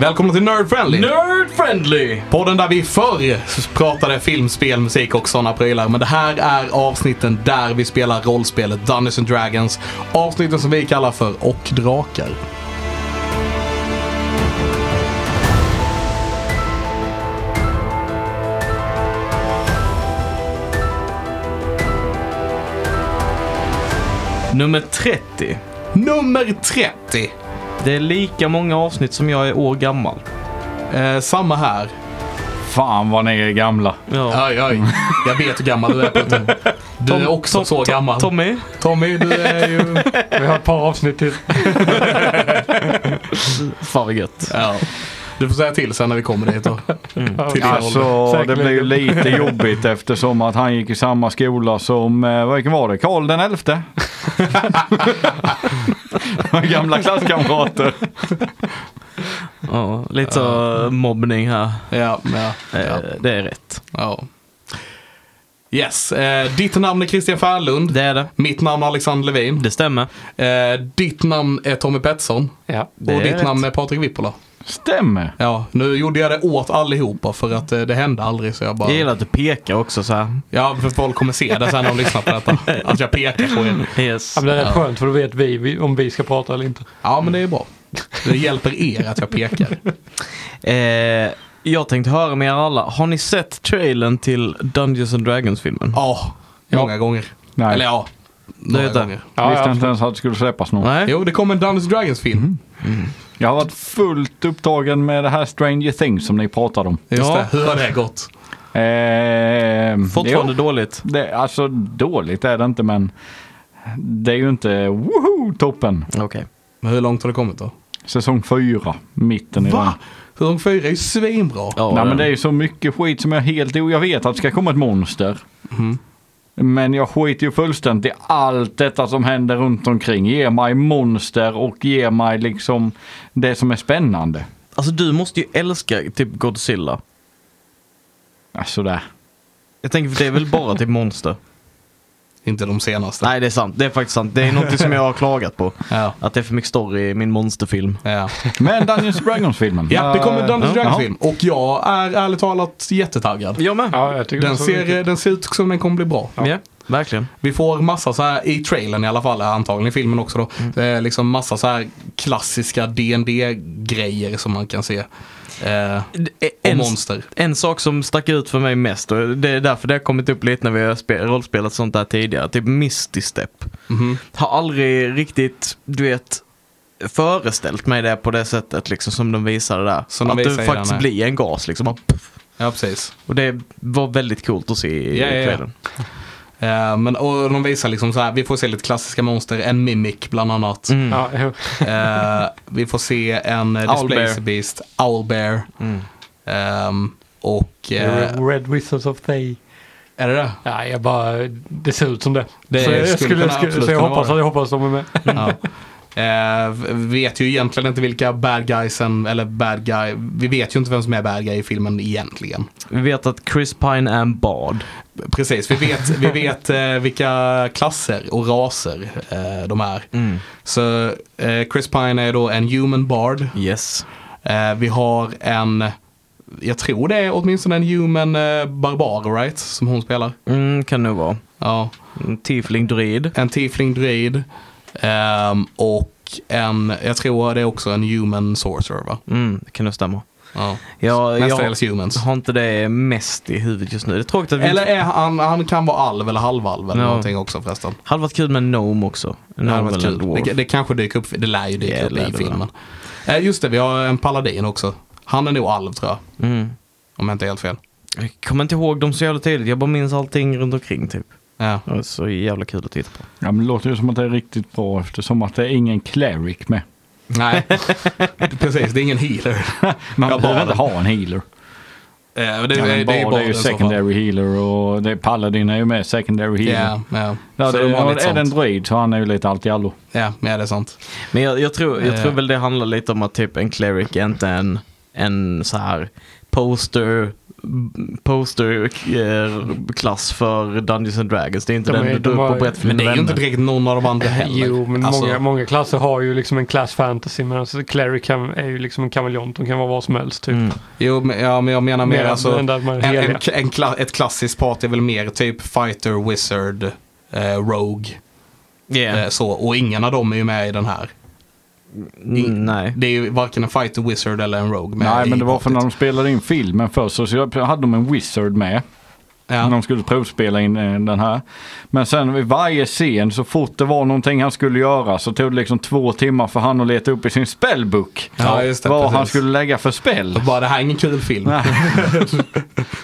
Välkomna till Nerd Friendly! Nerd friendly! Podden där vi förr pratade film, spel, musik och sådana prylar. Men det här är avsnitten där vi spelar rollspelet Dungeons and Dragons. Avsnitten som vi kallar för Och Drakar. Nummer 30. Nummer 30! Det är lika många avsnitt som jag är år gammal. Eh, samma här. Fan vad ni är gamla. Ja. Oj, oj. Jag vet hur gammal du är Putte. Du är också Tom- så Tom- gammal. Tommy? Tommy, du är ju... Vi har ett par avsnitt till. Fan vad gött. Ja. Du får säga till sen när vi kommer dit. Och... Till Mm. din ålder. Alltså det Säkerligen. blir ju lite jobbigt eftersom att han gick i samma skola som, eh, vilken var det? Karl den elfte? Gamla klasskamrater. Ja, lite så eh, mobbning här. Ja, ja, Eh, ja, Det är rätt. ja. Yes, eh, ditt namn är Christian Färlund. Det är det. Mitt namn är Alexander Levin. Det stämmer. Eh, ditt namn är Tommy Pettersson. Ja. Det och är ditt rätt. namn är Patrik Vippola. Stämmer. Ja, nu gjorde jag det åt allihopa för att eh, det hände aldrig så jag bara... Jag gillar att du pekar också så här. Ja, för folk kommer se det sen när de lyssnar på detta. Att jag pekar på er. Yes. men det är rätt skönt för då vet vi, vi om vi ska prata eller inte. Ja, men det är bra. Det hjälper er att jag pekar. Eh, jag tänkte höra med er alla. Har ni sett trailern till Dungeons and Dragons-filmen? Ja, många gånger. Nej. Eller ja, några vet jag. gånger. Visste absolut. inte ens att det skulle släppas någon. Nej? Mhm. Jo, det kom en Dungeons Dragons film. Jag har varit fullt upptagen med det här Stranger Things som ni pratade om. Just Ja. det. Hur har det gått? Eh, Fortfarande jo, dåligt. det, alltså dåligt är det inte men det är ju inte woho toppen. Okej. Men hur långt har det kommit då? Säsong fyra, mitten i den. Va? Säsong fyra är ju svinbra. Ja, Nej men den- det är ju så mycket skit som jag helt... Jo, jag vet att det ska komma ett monster. Mm. Men jag skiter ju fullständigt i allt detta som händer runt omkring. Ge mig monster och ge mig liksom det som är spännande. Alltså du måste ju älska typ Godzilla. Alltså där. Jag tänker för det är väl bara typ monster? Inte de senaste. Nej det är sant, det är faktiskt sant. Det är något som jag har klagat på. Ja. Att det är för mycket story i min monsterfilm. Ja. Men Dungeons Dragons-filmen. ja, det kommer en Dungeons Eh, Ja. Dragons film. Och jag är ärligt talat jättetaggad. Jag med. Ja, jag tycker Den det är så ser, viktigt. den ser ut som den kommer bli bra. Ja, verkligen. Vi får massa så här, i trailern i alla fall, eh, antagligen i filmen också då, Mm. eh, liksom massa så här klassiska dd grejer som man kan se. Eh, och e- En, monster. en sak som stack ut för mig mest, och det är därför det har kommit upp lite när vi har spe- rollspelat sånt där tidigare, typ Misty Step. Mhm. Har aldrig riktigt, du vet, föreställt mig det på det sättet liksom som de visade där. Som de att du visar i den faktiskt här. blir en gas liksom. bara puff. Ja, precis. Och det var väldigt coolt att se i Ja, ja, ja. trailern. Eh, men och de visar liksom så här, vi får se lite klassiska monster, en mimic bland annat. Mm. Ja, jo. Eh, vi får se en eh, Owlbear. Displacer Beast, Owlbear. Mm. ehm, och... eh, Red Wizards of Thay. är det det? Ja, jag bara, det ser ut som det. Det så jag, skulle skulle, kunna skulle, absolut så jag kunna hoppas, vara jag hoppas de är med. Ja. Eh, v- vet ju egentligen inte vilka bad guysen, eller bad guy, vi vet ju inte vem som är bad guy i filmen egentligen. Vi vet att Chris Pine är en bard. Precis, vi vet, vi vet eh, vilka klasser och raser eh, de är. Så eh, Chris Pine är då en human bard. Yes. Eh, vi har en, jag tror det är åtminstone en human eh, barbar, right? Som hon spelar. Mm, kan nog vara. Ja. En Tiefling Mm, druid. En tiefling druid. ehm, och en, jag tror det är också en human sorcerer va? Mm, det kan nog stämma. Ja. Jag, jag Mestadels humans. har inte det mest i huvudet just nu. Det är tråkigt att vi Eller inte... är han, han kan vara alv eller halvalv eller Ja. någonting också förresten. Hade varit kul med en gnome också. En Det, hade gnome varit eller en kul. dwarf. det, det kanske dyker upp, det lär ju dyka Ja, upp det lär i det filmen. Eh, just det, vi har en paladin också. Han är nog alv tror jag, Mm. om jag inte är helt fel. Jag kommer inte ihåg dem så jävla tydligt. Jag bara minns allting runt omkring typ. Ja. Det var så jävla kul att titta på. Ja, men det låter ju som att det är riktigt bra eftersom att det är ingen cleric med. Nej, precis, det är ingen healer. Man Ja, behöver bara- inte ha en healer. Eh, men det, Ja, det, men det är ju bard är ju barden i så fall. secondary healer och det är paladin är ju med secondary healer. Ja, ja. Ja, Så det, de har och lite är det en sånt. droid så han är ju lite allt i allo. Ja, ja, det är sant. Men jag, jag, tror, jag Eh. tror väl det handlar lite om att typ en cleric är inte en, en så här poster posterklass för Dungeons and Dragons. Det är inte De den är- du de drar upp har- och berättar för Men det dina är ju inte vänner. direkt någon av de andra heller. Jo, men Alltså, många, många klasser har ju liksom en klass fantasy medan Cleric kan, är ju liksom en kameleont. De kan vara vad som helst typ. Mm. Jo, men, ja, men jag menar mer Medan alltså. den där man är En, en, heliga. en kla, ett klassiskt part är väl mer typ fighter, wizard, eh, rogue. Yeah. Eh, så, och ingen av dem är ju med i den här. Mm, nej. Det är ju varken en fighter, wizard eller en rogue med Nej, men i det var för när partyt. de spelade in filmen först så så hade de en wizard med. När Ja. de skulle provspela in eh, den här. Men sen vid varje scen så fort det var någonting han skulle göra så tog det liksom två timmar för han att leta upp i sin spellbook. Ja, just det, vad precis. han skulle lägga för spel. Bara det här är ingen kul film. Nej.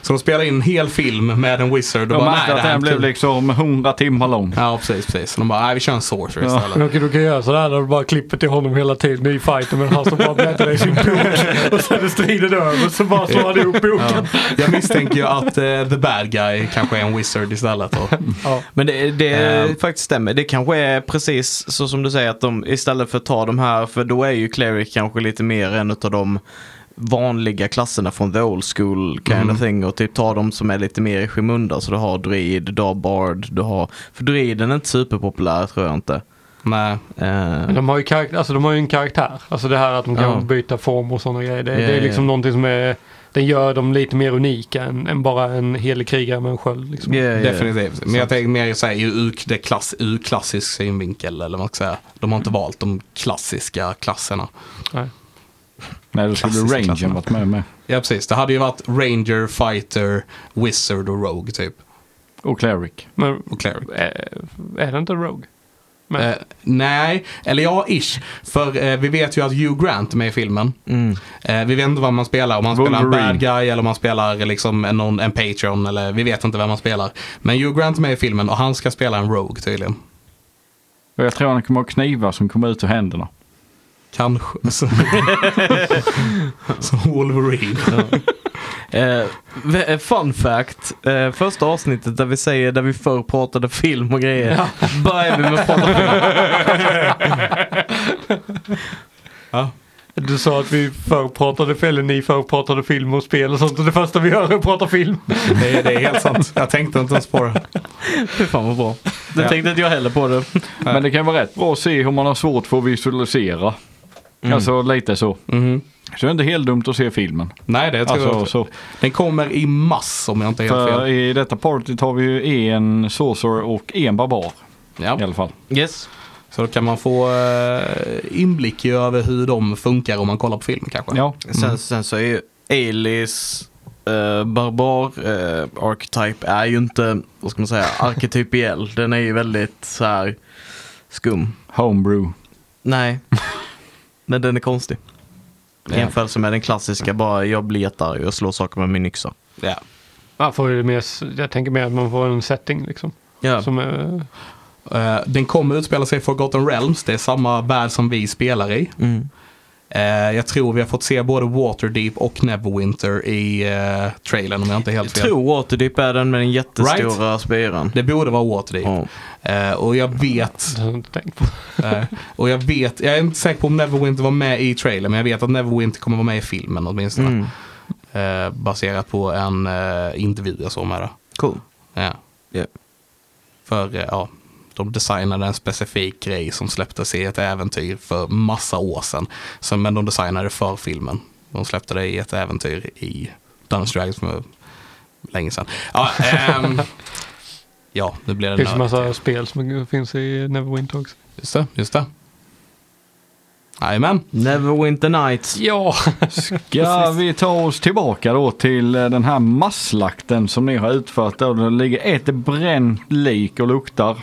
Så de spelar in en hel film med en wizard och De bara nej märkte det att här är den inte blev kul. liksom 100 timmar lång. Ja precis, precis. De bara nej vi kör en sorcerer Ja. istället. Men okej, du kan göra sådär där du bara klipper till honom hela tiden i fighten men han står bara och bläddrar i sin bok. Och sen är striden över så bara slår han ihop boken. Jag misstänker ju att eh, the bad guy kanske är en wizard istället. Då. Ja. Men det, det Ehm. faktiskt stämmer. Det kanske är precis så som du säger att de istället för att ta de här, för då är ju Cleric kanske lite mer en av de vanliga klasserna från the old school kind Mm. of thing och typ ta de som är lite mer i skymundan. Så du har druid, du har bard, du har... För druiden är inte superpopulär tror jag inte. Nej. Ehm. Men De har, ju karaktär, alltså de har ju en karaktär. Alltså det här att de kan Ja. byta form och sådana grejer. Det, Ja, det är ja, liksom ja. någonting som är, den gör dem lite mer unika än, än bara en helig krigare med en sköld. Liksom. Yeah, yeah. Definitivt. Men jag tänker mer så här, ur, ur- det klass, ur klassisk synvinkel. Eller vad man ska säga. De har inte valt de klassiska klasserna. Nej. Nej, då skulle Klassisk Ranger klassen. varit med med. Ja precis, det hade ju varit Ranger, Fighter, Wizard och Rogue typ. Och Cleric. Men Och Cleric. är, är det inte Rogue? Men, Eh, nej, eller ja, ish. För eh, vi vet ju att Hugh Grant är med i filmen. Mm. Eh, vi vet inte vad man spelar, om man spelar en Wolverine. bad guy eller om man spelar liksom en, någon, en Patreon. Eller, vi vet inte vem man spelar. Men Hugh Grant är med i filmen och han ska spela en Rogue tydligen. Och jag tror han kommer ha knivar som kommer ut ur händerna. Kanske. Så- Som Wolverine. Eh, v- fun fact. Eh, första avsnittet där vi säger där vi förr pratade film och grejer. Börjar vi med att prata film. du sa att vi förr pratade, eller ni förr pratade film och spel och sånt. Och det första vi gör är att prata film. Det, är- det är helt sant. Jag tänkte inte ens på det. Fy fan vad bra. Det Ja. tänkte inte jag heller på det. Men det kan vara rätt bra att se hur man har svårt för att visualisera. Alltså lite så. Mm. Mhm. Så det är inte helt dumt att se filmen. Nej, det tror jag Alltså, inte. så. Den kommer i mass om jag inte är helt För fel. i detta partyt har vi ju en sorcerer och en barbar i Ja. alla fall. Yes. Så då kan man få eh, inblick i över hur de funkar om man kollar på film kanske. Ja. Sen, sen så är ju Elis eh, barbar eh, archetype är ju inte, vad ska man säga, arketypiell. Den är ju väldigt så här skum. Homebrew. Nej. Men den är konstig. I jämförelse med den klassiska bara jag blir jättearg och slår saker med min yxa. Ja. Man får ju mer, s- jag tänker mer att man får en setting liksom. Ja. Som är, Eh, den kommer utspela sig i Forgotten Realms. Det är samma värld som vi spelar i. Mm. Eh, jag tror vi har fått se både Waterdeep och Neverwinter i eh, trailern om jag inte är helt Jag fel. tror Waterdeep är den med den jättestora spyran. Det borde vara Waterdeep. Ja. Eh, och jag vet det har jag inte tänkt på. Eh, och jag vet, jag är inte säker på om Neverwinter var med i trailern, men jag vet att Neverwinter kommer vara med i filmen åtminstone. Mm. Eh, baserat på en eh, intervju jag såg med det. Cool. Ja. Yeah. För eh, ja, de designade en specifik grej som släpptes i ett äventyr för massa år sedan. Så, men de designade det för filmen. De släppte det i ett äventyr i Dungeons Dragons för länge sedan. Ja, ehm, ja nu blir det Det finns ju nördigt. massa spel som finns i Neverwinter också. Just det, just det. Jajamän. Neverwinter Nights. Ja, Ska vi ta oss tillbaka då till eh, den här masslakten som ni har utfört. Där det ligger ett bränt lik och luktar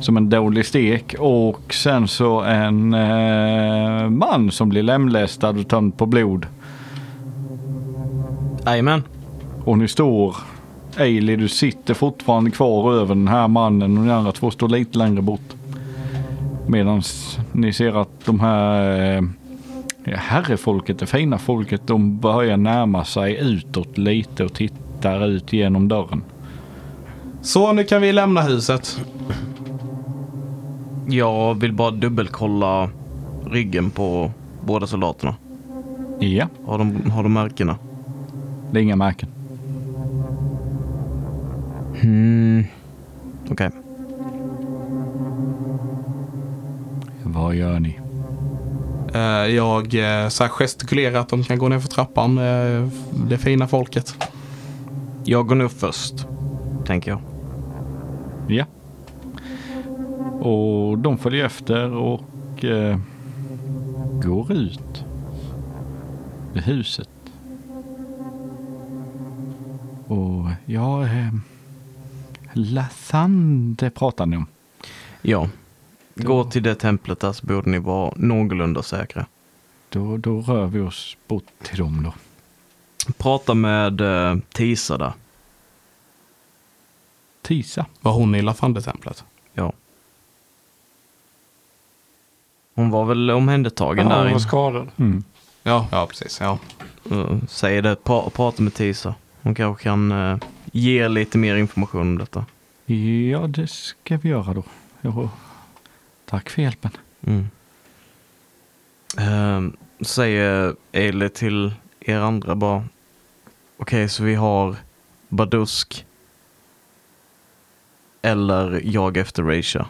som en dålig stek. Och sen så en eh, man som blir lemlästad och tömd på blod. Jajamän. Och ni står, Eili du sitter fortfarande kvar över den här mannen och ni andra två står lite längre bort. Medan ni ser att de här eh, herrefolket, det fina folket, de börjar närma sig utåt lite och tittar ut genom dörren. Så nu kan vi lämna huset. Jag vill bara dubbelkolla ryggen på båda soldaterna. Ja, Har de, har de märkena? det är inga märken. Hmm. Okej. Vad gör ni? Eh, Jag eh, så här gestikulerar att de kan gå ner för trappan, eh, det fina folket. Jag går nu först, tänker jag. Ja. Och de följer efter och eh, går ut i huset. Och ja, eh, Lathande pratar ni om. Ja. Gå till det templet där så borde ni vara någorlunda säkra. Då, då rör vi oss bort till dem då. Prata med eh, Tisa där. Tisa. Var hon i Lafandetemplet? Ja. Hon var väl omhändertagen Ja, där han var inne. skadad. Ja, ja precis. Ja. Eh, Säg det, pra, prata med Tisa. Hon kanske kan eh, ge lite mer information om detta. Ja, det ska vi göra då. Ja. Tack för hjälpen. Mm. Ehm, säger Eli till er andra bara. Okej, så vi har Badusk eller jag efter Raisha.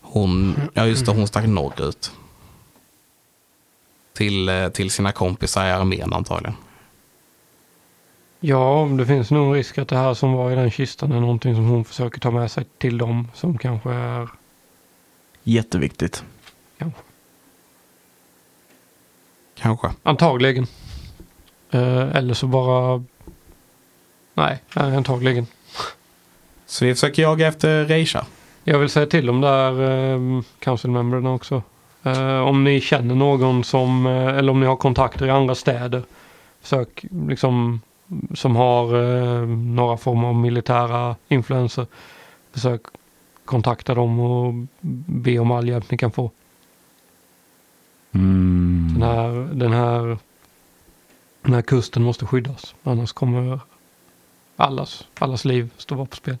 Hon, ja just det, hon stack norrut. Till, eh, till sina kompisar i armén antagligen. Ja, det finns nog en risk att det här som var i den kistan är någonting som hon försöker ta med sig till dem som kanske är... Jätteviktigt. Kanske. Kanske. Antagligen. Eh, eller så bara... Nej, nej, antagligen. Så vi försöker jaga efter Reisha. Jag vill säga till de där eh, councilmemberna också. Eh, om ni känner någon som, eh, eller om ni har kontakter i andra städer. Försök liksom, som har eh, några former av militära influenser. Försök kontakta dem och be om all hjälp ni kan få. Den här, den här, den här kusten måste skyddas. Annars kommer allas, allas liv stå på spel.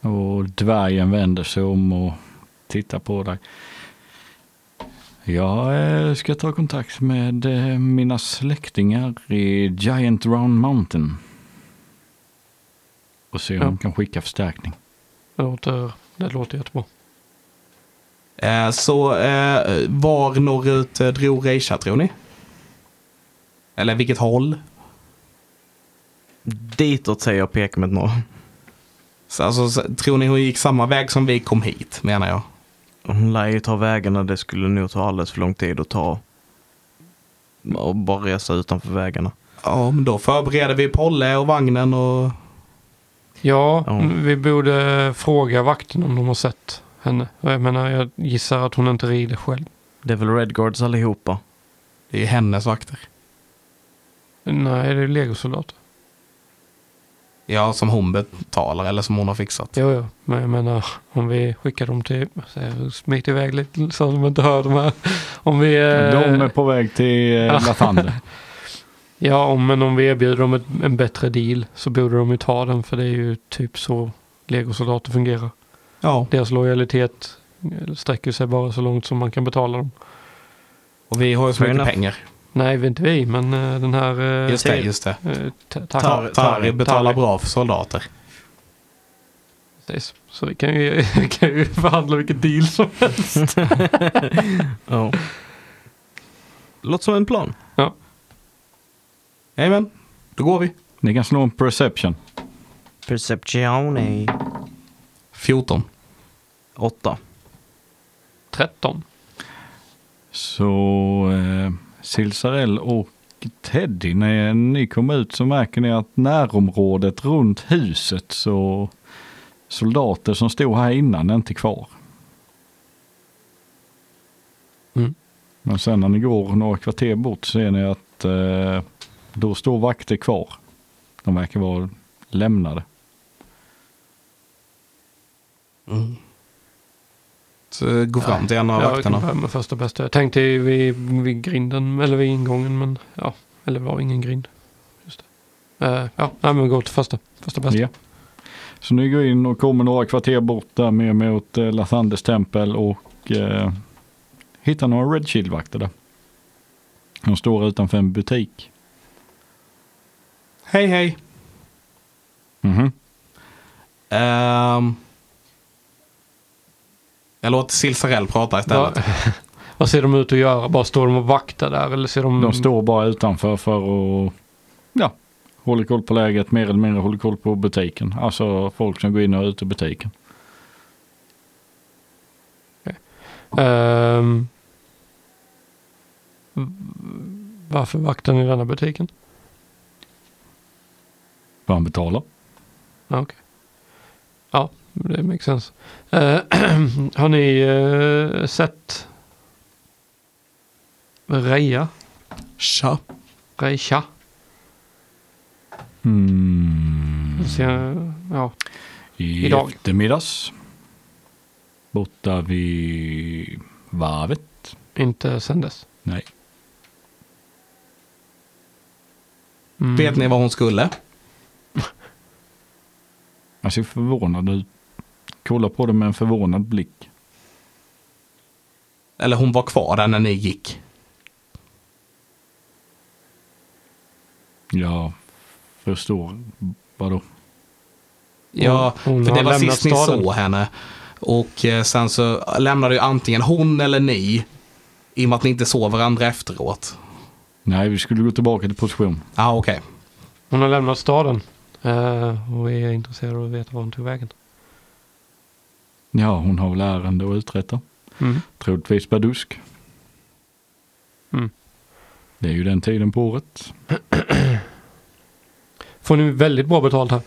Och dvärgen vänder sig om och tittar på dig. Jag eh, ska ta kontakt med eh, mina släktingar i Giant Round Mountain. Och se om Ja. de kan skicka förstärkning. Det låter, det låter jättebra. Eh, så eh, var norrut eh, drog Reisha tror ni? Eller vilket håll? Ditåt säger jag pekar med ett norr. Så, alltså, så, tror ni hon gick samma väg som vi kom hit menar jag? Hon lär ju ta vägarna. Det skulle nog ta alldeles för lång tid att ta. Och bara resa utanför vägarna. Ja, men då förbereder vi Polle och vagnen och... Ja, Ja. m- vi borde fråga vakten om de har sett henne. Och Jag menar, jag gissar att hon inte rider själv. Det är väl Redguards allihopa. Det är ju hennes vakter. Nej, det är legosoldater. Ja, som hon betalar eller som hon har fixat. Jo, jo, men jag menar om vi skickar dem till... så jag Smiter iväg lite så att de inte hör de här. Om vi... De är Eh, på väg till eh, Lathander. ja, om- men om vi erbjuder dem ett, en bättre deal så borde de ju ta den för det är ju typ så legosoldater fungerar. Ja, Deras lojalitet eh, sträcker sig bara så långt som man kan betala dem. och vi har ju så Fair mycket enough. pengar. Nej, vi- inte vi, men eh, den här... eh, Just det, Te- just det. eh, Te- Tar- Tar- Tari betalar Tari. bra för soldater. Precis. Så vi kan ju, vi kan ju förhandla vilket deal som helst. Ja. Låter som en plan. Ja. Jajamän, då går vi. Ni kan slå en perception. Perceptione. 14. Åtta. 13. Så eh, Silsarell och Teddy, när ni kommer ut så märker ni att närområdet runt huset så soldater som stod här innan är inte kvar. Mm. Men sen när ni går några kvarter bort ser ni att eh, då står vakter kvar. De verkar vara lämnade. Mm. Så eh, gå fram till en av Ja, vi kan vakterna. börja med första bästa. Jag tänkte ju vid, vid grinden, eller vid ingången, men ja. Eller var ingen grind. Just det. Eh, ja, nej, men vi går till första, första bästa. Ja. Så ni går in och kommer några kvarter bort där mer mot eh, Lathanders tempel och eh, hittar några Red Shield-vakter där. De står utanför en butik. Hej, hej. Mhm. Ehm. jag låter Silsarell prata istället. Vad, vad ser de ut att göra? Bara står de och vaktar där eller ser de... De står bara utanför för att ja, håller koll på läget, mer eller mindre håller koll på butiken. Alltså folk som går in och ut ur butiken. Ehm. Mm, varför vaktar ni denna butiken? Vad han betalar. Ja, okej. Ja, det makes sense. Eh, har ni eh, sett Reja? Tja. Reja? Mm. Ser- Ja. I Idag. eftermiddags. Borta vid varvet. Inte sen dess. Nej. Mm. Vet ni vad hon skulle? Han ser förvånad ut. Kollar på det med en förvånad blick. Eller hon var kvar där när ni gick. Jag förstår. Vadå? Ja, hon för har det var lämnat sist ni staden. såg henne. Och eh, sen så lämnade ju antingen hon eller ni. I och med att ni inte såg varandra efteråt. Nej, vi skulle gå tillbaka till position. Ja, ah, okej. Hon har lämnat staden. eh, och är intresserad av att veta var hon tog vägen. Ja, hon har väl ärende att uträtta. Mm. Troligtvis Badusk. Mm. Det är ju den tiden på året. Får ni väldigt bra betalt här.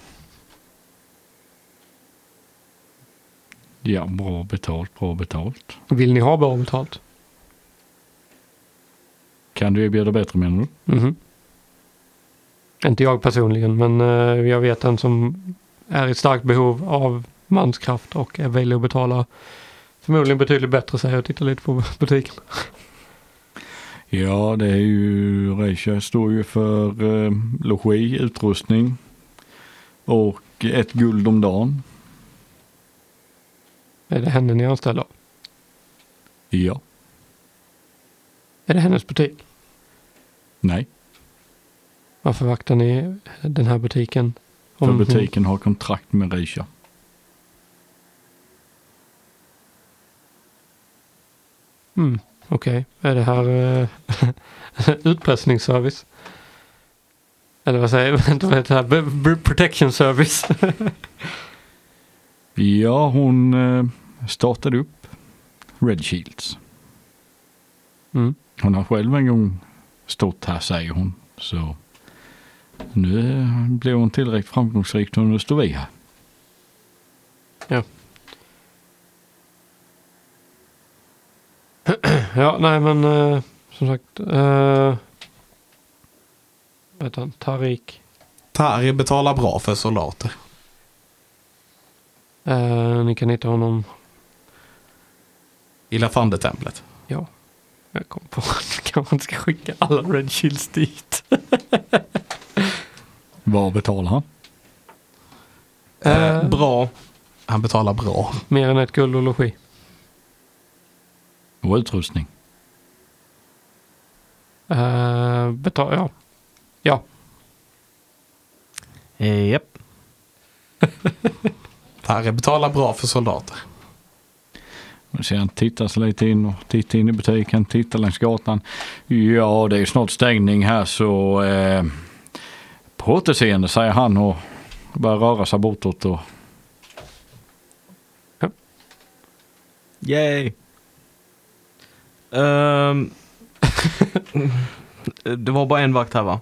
Ja, bra betalt, bra betalt. Vill ni ha bra betalt? Kan du erbjuda bättre menar du? Mhm. Inte jag personligen, men eh, jag vet en som är i starkt behov av manskraft och är villig att betala förmodligen betydligt bättre säger jag och tittar lite på butiken. Ja, det är ju, Reisha står ju för eh, logi, utrustning och ett guld om dagen. Är det henne ni är anställda av? Ja, Är det hennes butik? nej, Varför vaktar ni den här butiken? för Om- butiken har kontrakt med Reisha. Mm, Okej, är det här eh, utpressningsservice? Eller vad säger jag? Inte vad heter det här? B- b- Protection service. Ja, hon eh, startade upp Red Shields. Mm. Hon har själv en gång stått här säger hon. Så nu eh, blev hon tillräckligt framgångsrik så nu står vi här. Ja, nej men eh, som sagt. Eh, vad heter han? Tarik. Tari betalar bra för soldater. Eh, ni kan hitta honom. I Lafandetemplet. Ja, jag kom på att vi kanske inte ska skicka alla Red Shields dit. Vad betalar han? Eh, Eh. bra. Han betalar bra. Mer än ett guld och logi. Och utrustning. Eh, betal, ja. Ja, Japp. Tari betalar bra för soldater. Och Sen tittar sig lite in och tittar in i butiken, tittar längs gatan. Ja, det är snart stängning här så eh, på återseende säger han och börjar röra sig bortåt. Och, Yay! Ehm, det var bara en vakt här va?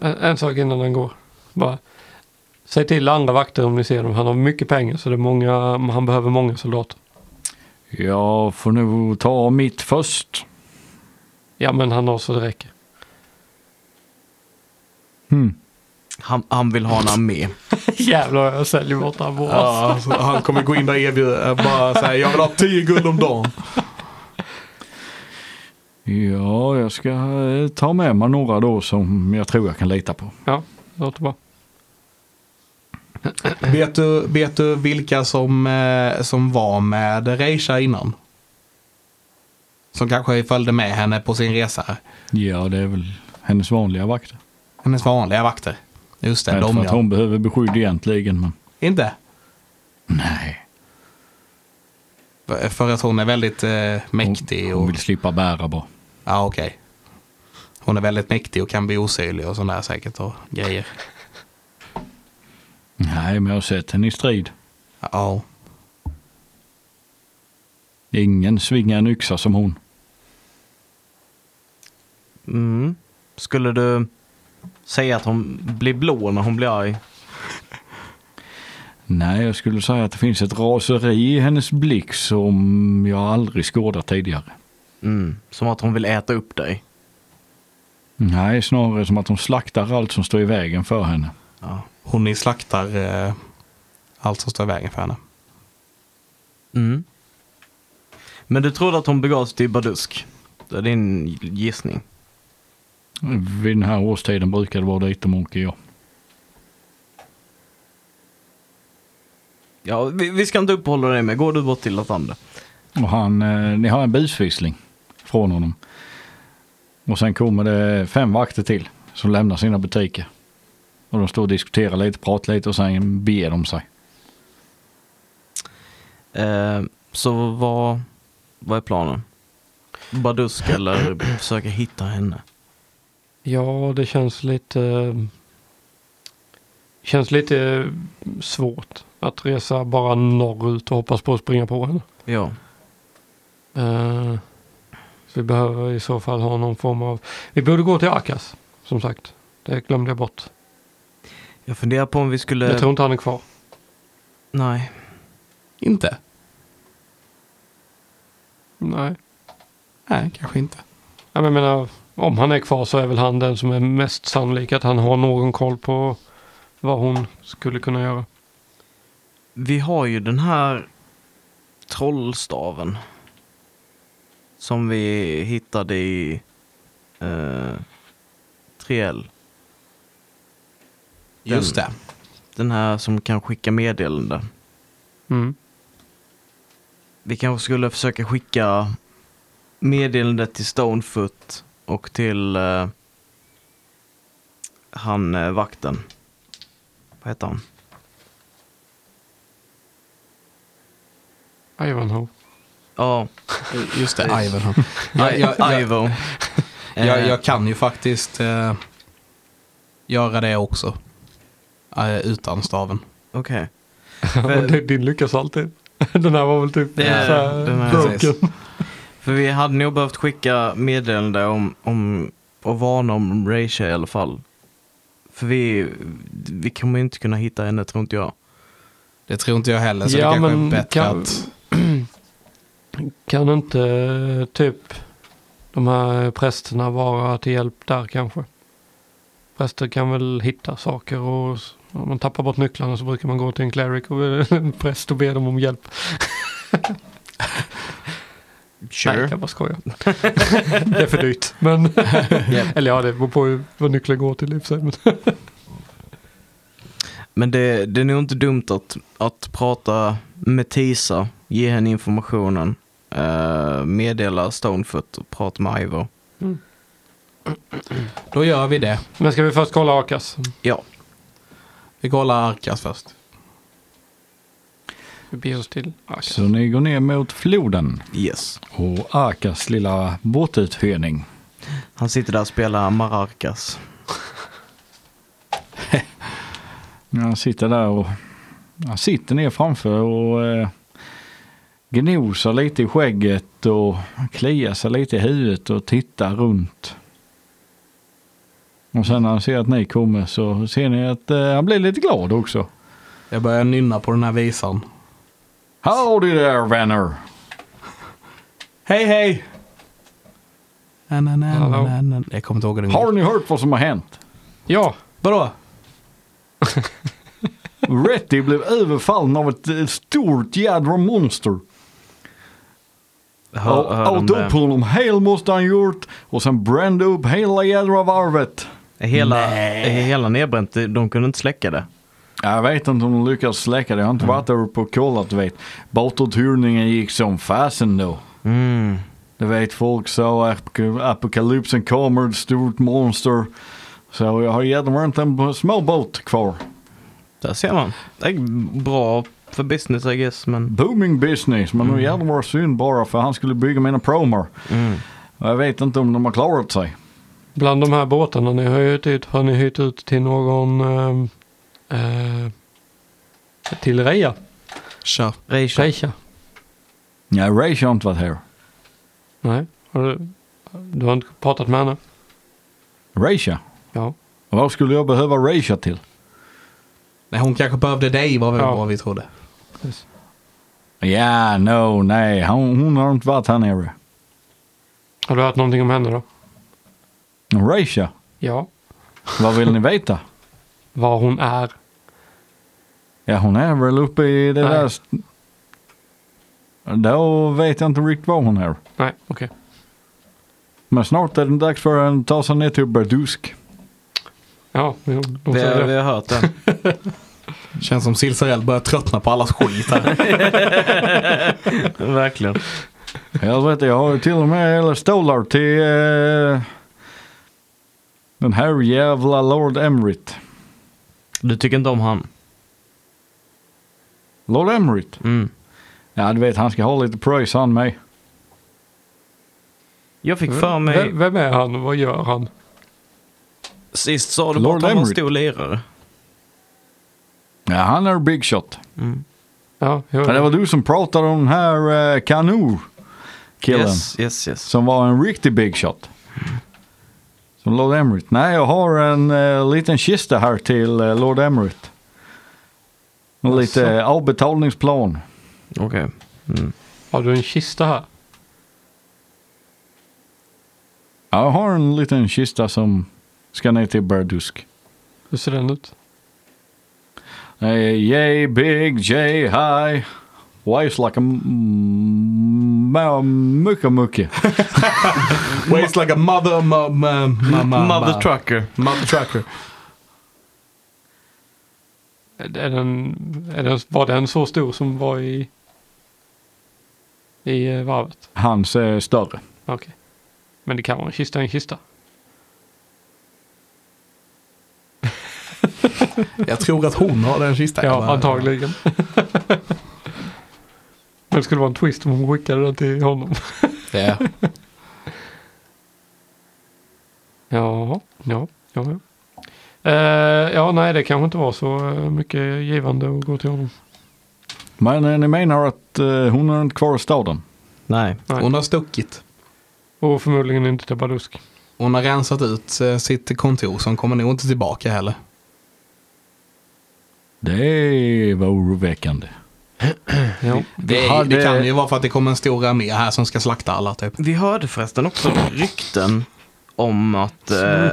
en, en sak innan han går. Bara. Säg till andra vakter om ni ser dem. Han har mycket pengar så det är många, han behöver många soldater. jag får nog ta mitt först. Ja men han har så det räcker. Hmm. Han, han vill ha en armé. Jävlar jag säljer bort han på oss. Ja, alltså, han kommer gå in där och erbjuda, eh, bara säga jag vill ha 10 guld om dagen. Ja, jag ska eh, ta med mig några då som jag tror jag kan lita på. Ja, det låter bra. Vet du, vet du vilka som, eh, som var med Reisha innan? Som kanske följde med henne på sin resa. här. Ja, det är väl hennes vanliga vakter. Hennes vanliga vakter. Just det, Inte de för att ja. hon behöver beskydd egentligen, men Inte? Nej. För- För att hon är väldigt eh, mäktig. Hon Och, vill slippa bära bara. ja, okej. Hon är väldigt mäktig och kan bli osynlig och sådär säkert och grejer. Nej, men jag har sett henne i strid. Ja, Ingen svingar en yxa som hon. Mm. Skulle du säga att hon blir blå när hon blir arg? Nej, jag skulle säga att det finns ett raseri i hennes blick som jag aldrig skådat tidigare. Mm. Som att hon vill äta upp dig? Nej, snarare som att hon slaktar allt som står i vägen för henne. Ja. hon är slaktar eh, allt som står i vägen för henne. Mm. Men du trodde att hon begav sig till Badusk? Det är din gissning. Vid den här årstiden brukar det vara dit de åker, ja. Ja, vi, vi ska inte uppehålla dig med. Går du bort till Latander? Och han, eh, ni har en bisvissling från honom. Och sen kommer det fem vakter till som lämnar sina butiker. Och de står och diskuterar lite, pratar lite och sen beger de sig. Eh, så vad, vad är planen? Badusk eller försöka hitta henne? Ja, det känns lite... eh, Känns lite eh, svårt att resa bara norrut och hoppas på att springa på henne. Ja. Eh, Så vi behöver i så fall ha någon form av... Vi borde gå till Akas, som sagt. Det glömde jag bort. Jag funderar på om vi skulle... Jag tror inte han är kvar. Nej. Inte? Nej. Nej, kanske inte. Ja, men Jag menar, om han är kvar så är väl han den som är mest sannolik att han har någon koll på vad hon skulle kunna göra. Vi har ju den här trollstaven. Som vi hittade i eh, Triel. Just det. Den här som kan skicka meddelande. Mm. Vi kanske skulle försöka skicka meddelandet till Stonefoot och till eh, han eh, vakten. Vad heter han? Ivanhoe. Ja, Just det, Precis. Ivanhoe. Jag, jag, jag, Ivo. jag, Eh, jag kan ju faktiskt eh, göra det också. Eh, utan staven. Okej. Eh, Och det- typ Din lyckas alltid. Den här var väl typ Det är- så här den här- Precis. broken. För vi hade nog behövt skicka meddelande om, om och varna om Rachel i alla fall. För vi, vi kommer ju inte kunna hitta henne tror inte jag. Det tror inte jag heller, så Ja, det kanske men är bättre kan- att... Kan inte eh, typ de här prästerna vara till hjälp där kanske? Präster kan väl hitta saker och s- om man tappar bort nycklarna så brukar man gå till en cleric och en präst och be dem om hjälp. Nej, jag bara skojar. det är för dyrt. Men Eller ja, det beror på hur- vad nyckeln går till i och för sig. men- Men det, det är nog inte dumt att, att prata med Tisa, ge henne informationen, eh, meddela Stonefoot och prata med Ivo. Då gör vi det. Men ska vi först kolla Akas? Ja, Vi kollar Arkas först. Vi beger oss till Akas. Så ni går ner mot floden yes. och Akas lilla båtuthyrning. Han sitter där och spelar Maracas. Han sitter där och han sitter ner framför och eh, gnosar lite i skägget och kliar sig lite i huvudet och tittar runt. Och sen när han ser att ni kommer så ser ni att eh, han blir lite glad också. Jag börjar nynna på den här visan. Howdy there vänner! Hej hej! Na, na, na, Hallå. na, na. Jag kommer inte ihåg hur den Har går. ni hört vad som har hänt? Ja, Vadå? Retty blev överfallen av ett eh, stort jädra monster. Hör, hör Ja, de och då på det? honom hel måste han gjort och sen brände upp hela jädra varvet. Hela, hela nedbränt, de kunde inte släcka det. Jag vet inte om de lyckades släcka det. Jag har inte varit där uppe och kollat du vet. Båtuthyrningen gick som fasen då. Mm. Du vet folk sa apok- apokalypsen kommer, ett stort monster. oh, Så jag har jädra inte en små båt kvar. Där ser man. Det är bra för business I guess. Men... Booming business, men mm. jävlar vad synd bara för han skulle bygga mina promer. Mm. Och jag vet inte om de har klarat sig. Bland de här båtarna ni har hyrt ut, har ni hyrt ut till någon ehm, eh, eh, till Reja? Kör. Reisha. Reisha? Ja, Ray har inte varit här. Nej, har du, du har inte pratat med henne? Raisha? Ja. Vad skulle jag behöva Raisha till? Nej, hon kanske behövde dig var väl Ja. vad vi trodde. Ja, no, nej, hon, hon har inte varit här nere. Har du hört någonting om henne då? Raisha, Ja. vad vill ni veta? Var hon är? Ja, hon är väl uppe i det Nej. där... st- Då vet jag inte riktigt var hon är. Nej, okej. Men snart är det dags för henne att ta sig ner till Berdusk. Ja, jo, de Vi, säger har- vi det. har hört den. Känns som Silsarell börjar tröttna på allas skit här. Verkligen. Jag vet jag har ju till och med hela stålar till eh, den här jävla Lord Emrit. Du tycker inte om han? Lord Emrit? Mm. Ja, du vet han ska ha lite pröjs han med. Jag fick för mig... Vem, vem är han och vad gör han? Sist sa du bara Lord att han var en Emmerich. stor lirare. Ja, han är big shot. Mm. Ja, jo. Ja, det var du som pratade om den här eh, Kanu-killen. Yes, yes, yes. Som var en riktig big shot. Som Lord Emrit. Nej, jag har en eh, liten kista här till eh, Lord Emrit. Och lite eh, avbetalningsplan. Okej. Mm. Har du en kista här? Ja, Jag har en liten kista som ska ner till Berdusk. Hur ser den ut? Eh, Yay big, yay high. Waves like a m- m- mycket, mycket. Waste like a mother... Ma, ma, ma, ma, Mother trucker. Mother trucker. Är är den, är den, var den så stor som var i, i eh, varvet? Hans är större. Okej. Men det kan vara en kista i en kista. Jag tror att hon har den kistan. Ja, Jag bara- antagligen. Men det skulle vara en twist om hon skickade den till honom. Ja. Ja, ja, ja. ja. Eh, ja, nej, det kanske inte var så eh, mycket givande att gå till honom. Men eh, ni menar att eh, hon är inte kvar i staden? Nej. Nej. Hon har stuckit. Och förmodligen inte till Badusk. Hon har rensat ut eh, sitt kontor så hon kommer nog inte tillbaka heller. Det var oroväckande. Ja. Det, Ja, det det- kan ju vara för att det kommer en stor armé här som ska slakta alla typ. Vi hörde förresten också rykten om att... Eh,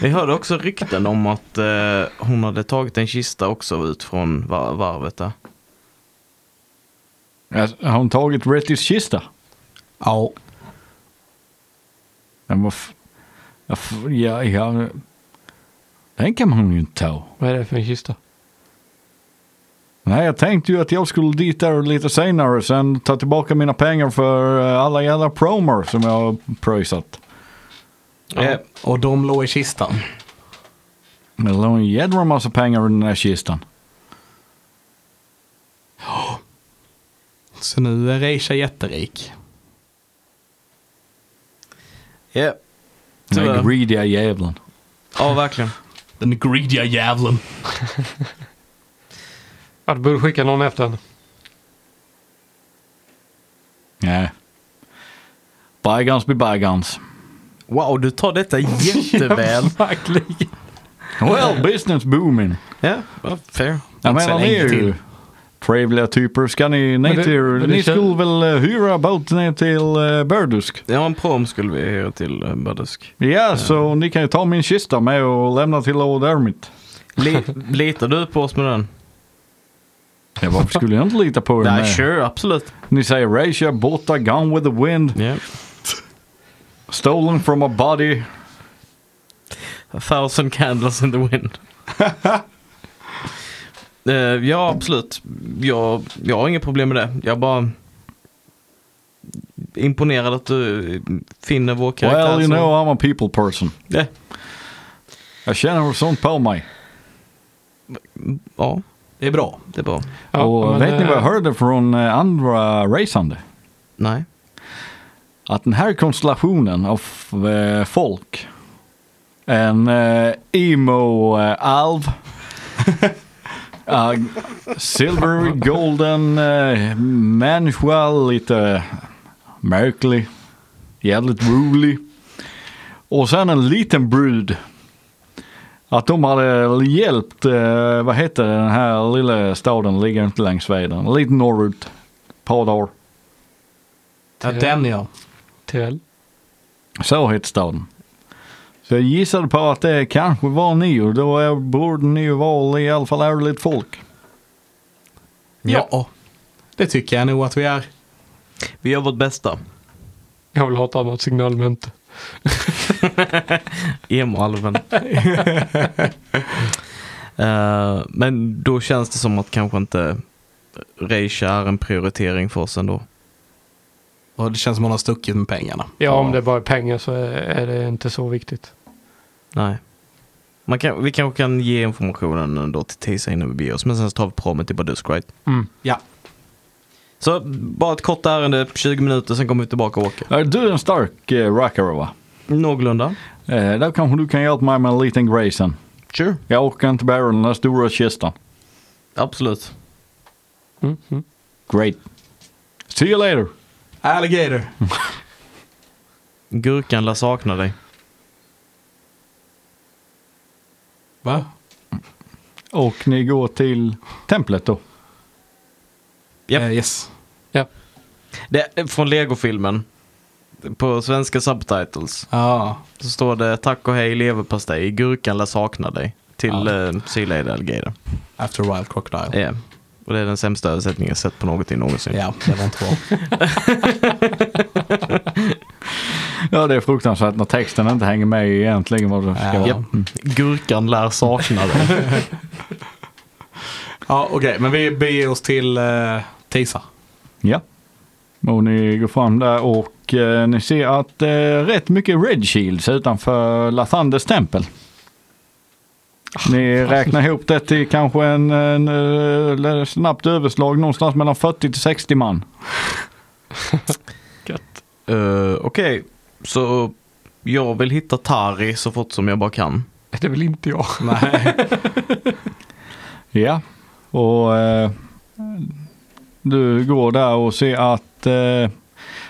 vi hörde också rykten om att eh, hon hade tagit en kista också ut från var- varvet där. Alltså, Har hon tagit Rettys kista? Ja. Den var f- ja, f- ja, ja. Den kan man ju inte ta. Vad är det för en kista? Nej, jag tänkte ju att jag skulle dit där lite senare sen ta tillbaka mina pengar för eh, alla jävla promer som jag har pröjsat. Eh, Och de låg i kistan. Det låg en jädra massa pengar i den där kistan. Så nu är Reisha jätterik. ja. Den där Tyvärr. greediga jävlen. Ja, verkligen. Den greediga jävlen. Ja, du borde skicka någon efter henne. Nej. Bygans be bygans. Wow, du tar detta jätteväl. Verkligen. Well, business booming. ja, well, fair. Jag Inte så menar ni länge är ju till. trevliga typer. Ska ni Men ner det- men det till... Ni kän- skulle väl eh, hyra båt ner till uh, Berdusk? Ja, en prom skulle vi hyra till eh, Badusk. Ja, så ni kan ju ta min kista med och lämna till Lord Ermit. Li- litar du på oss med den? Ja, varför skulle jag inte lita på er Nej, med? sure, absolut. Ni säger Raisha, borta, gone with the wind, Yeah. stolen from a body. A thousand candles in the wind. Eh, ja, absolut. Jag, jag har inga problem med det. Jag bara imponerad att du finner vår karaktär. Well, you som- know I'm a people person. Ja. Jag känner sånt på mig. ja. Det är bra. Det är bra. Ja, och men, vet ni vad jag eh, hörde från eh, andra racande? Nej. Att den här konstellationen av eh, folk, en eh, emo-alv, silver, golden, eh, människa, lite märklig, jävligt rolig. Och sen en liten brud. Att de hade hjälpt, eh, vad heter den här lilla staden, ligger inte längs vägen, lite norrut, par dagar. Ja, den ja. Tyrell. Så hette staden. Så jag gissade på att det kanske var ni och då är- borde ni ju vara i alla fall ärligt folk. ja. Det tycker jag nog att vi är. Vi gör vårt bästa. Jag vill ha ett annat signalmönster. Emoalven. Eh, men då känns det som att kanske inte Reisha är en prioritering för oss ändå. Och det känns som hon har stuckit med pengarna. Ja, om det bara är pengar så är, är det inte så viktigt. Nej. Man kan, vi kanske kan ge informationen ändå till Tisa innan vi beger oss, men sen så tar vi promet till Badusk, right? Mm. Ja. Så bara ett kort ärende, 20 minuter, sen kommer vi tillbaka och åker. Är du en stark eh, rackare va? Någorlunda. Eh, då kanske du kan hjälpa mig med en liten grej sen. Sure. Jag orkar inte bära den där stora kistan. Absolut. Mm. Mm. Great. See you later. Alligator. Gurkan lär sakna dig. Va? Och ni går till templet då. Japp. Eh, yes. Ja. Det är från Lego-filmen. På svenska subtitles Ja. så står det tack och hej leverpastej, gurkan lär sakna dig. Till eh, Sea Lady Alligator. After a while crocodile. Ja. Och det är den sämsta översättningen jag sett på någonting någonsin. Ja, det var inte bra. Ja det är fruktansvärt när texten inte hänger med egentligen vad det ska Ja. vara. Japp. Mm. Gurkan lär sakna dig. ja, okej, men vi beger oss till eh, Tisa. Ja. Och ni går fram där och eh, ni ser att eh, rätt mycket Red Shields utanför Lathandes tempel. Ni räknar ihop det till kanske en, en, eh, snabbt överslag någonstans mellan 40 till 60 man. Eh, Okej, så jag vill hitta Tari så fort som jag bara kan. Det är väl inte jag. Nej. Ja. Och eh, du går där och ser att eh,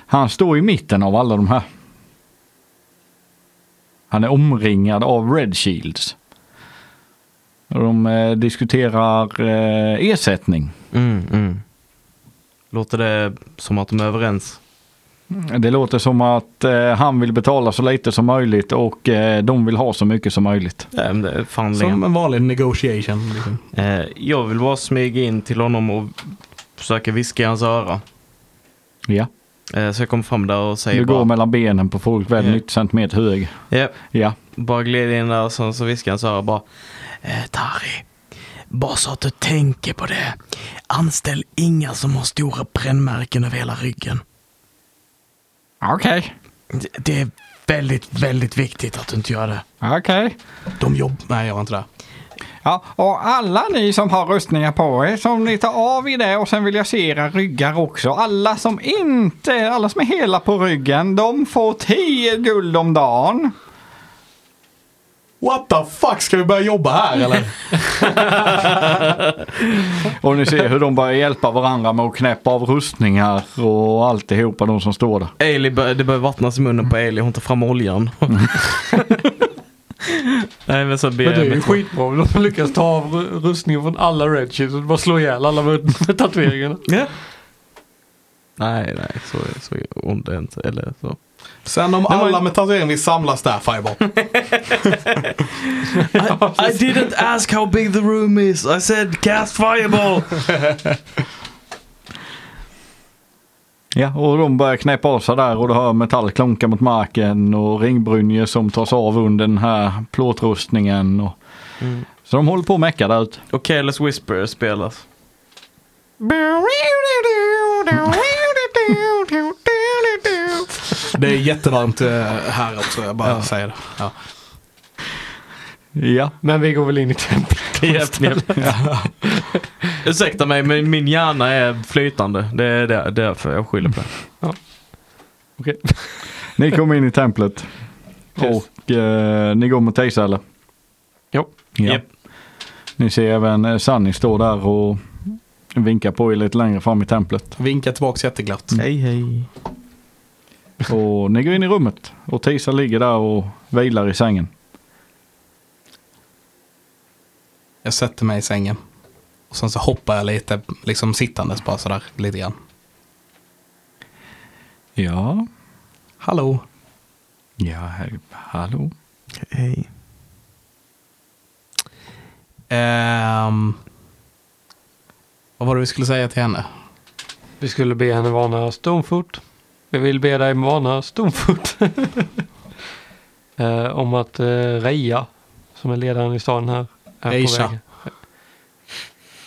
han står i mitten av alla de här. Han är omringad av Red Shields. Och De eh, diskuterar eh, ersättning. Mm, mm. Låter det som att de är överens? Det låter som att eh, han vill betala så lite som möjligt och eh, de vill ha så mycket som möjligt. Ja, men det är förhandlingen. Som en vanlig negotiation. Liksom. Eh, jag vill bara smyga in till honom och försöka viska i hans öra. Ja. Eh, så jag kom fram där och säger Du går bara... mellan benen på folk väl Ja. 90 centimeter hög. Ja, Ja. bara gled in där och sen så viskar i hans öra bara... Eh, Tari, bara så att du tänker på det. Anställ inga som har stora brännmärken över hela ryggen. Okej. Det, det är väldigt, väldigt viktigt att du inte gör det. Okej. De jobb... Nej, jag var inte där. Ja, och alla ni som har rustningar på er, som ni tar av i det och sen vill jag se era ryggar också. Alla som inte, alla som är hela på ryggen, de får 10 guld om dagen. What the fuck, ska vi börja jobba här eller? Och ni ser hur de börjar hjälpa varandra med att knäppa av rustningar och alltihopa, de som står där. Ailey, bör- det börjar vattnas i munnen på Ailey. Hon tar fram oljan. Nej men så ber Men jag det är ju mig- skitbra om de lyckas ta av ru- rustningen från alla redshields och bara slå ihjäl alla med med tatueringarna. Nej, nej, så, så ont är det inte. Eller så. Sen om alla med tatuering vill samlas där, Fireball. I, didn't ask how big the room is. I said cast fireball. Ja, och de börjar knäppa av sig där och du hör metall klonka mot marken och ringbrynje som tas av under den här plåtrustningen. Och... Så de håller på att mecka där ute. Och Careless Whisper spelas. Det är jättevarmt eh, här också, jag bara säger det. Ja. Ja. Men vi går väl in i templet. Japp, japp. Ursäkta mig, men min hjärna är flytande. Det är där- därför jag skyller på det. Okej. Ni kommer in i templet. Yes. Och eh, ni går mot Teisa eller? Jo. Ja. Japp. Ni ser även eh, Sunny stå där och vinka på er lite längre fram i templet. Vinka tillbaka jätteglatt. Hej hej. Och ni går in i rummet och Teisa ligger där och vilar i sängen. Jag sätter mig i sängen. Och sen så hoppar jag lite, liksom sittandes bara sådär lite grann. Ja, Hallå, ja, här- hallå. Hej. Ehm, vad var det vi skulle säga till henne? Vi skulle be henne varna Stonefoot. Vi vill be dig varna Stonefoot. eh, om att eh, Reja, som är ledaren i stan här, är Reisha. på väg.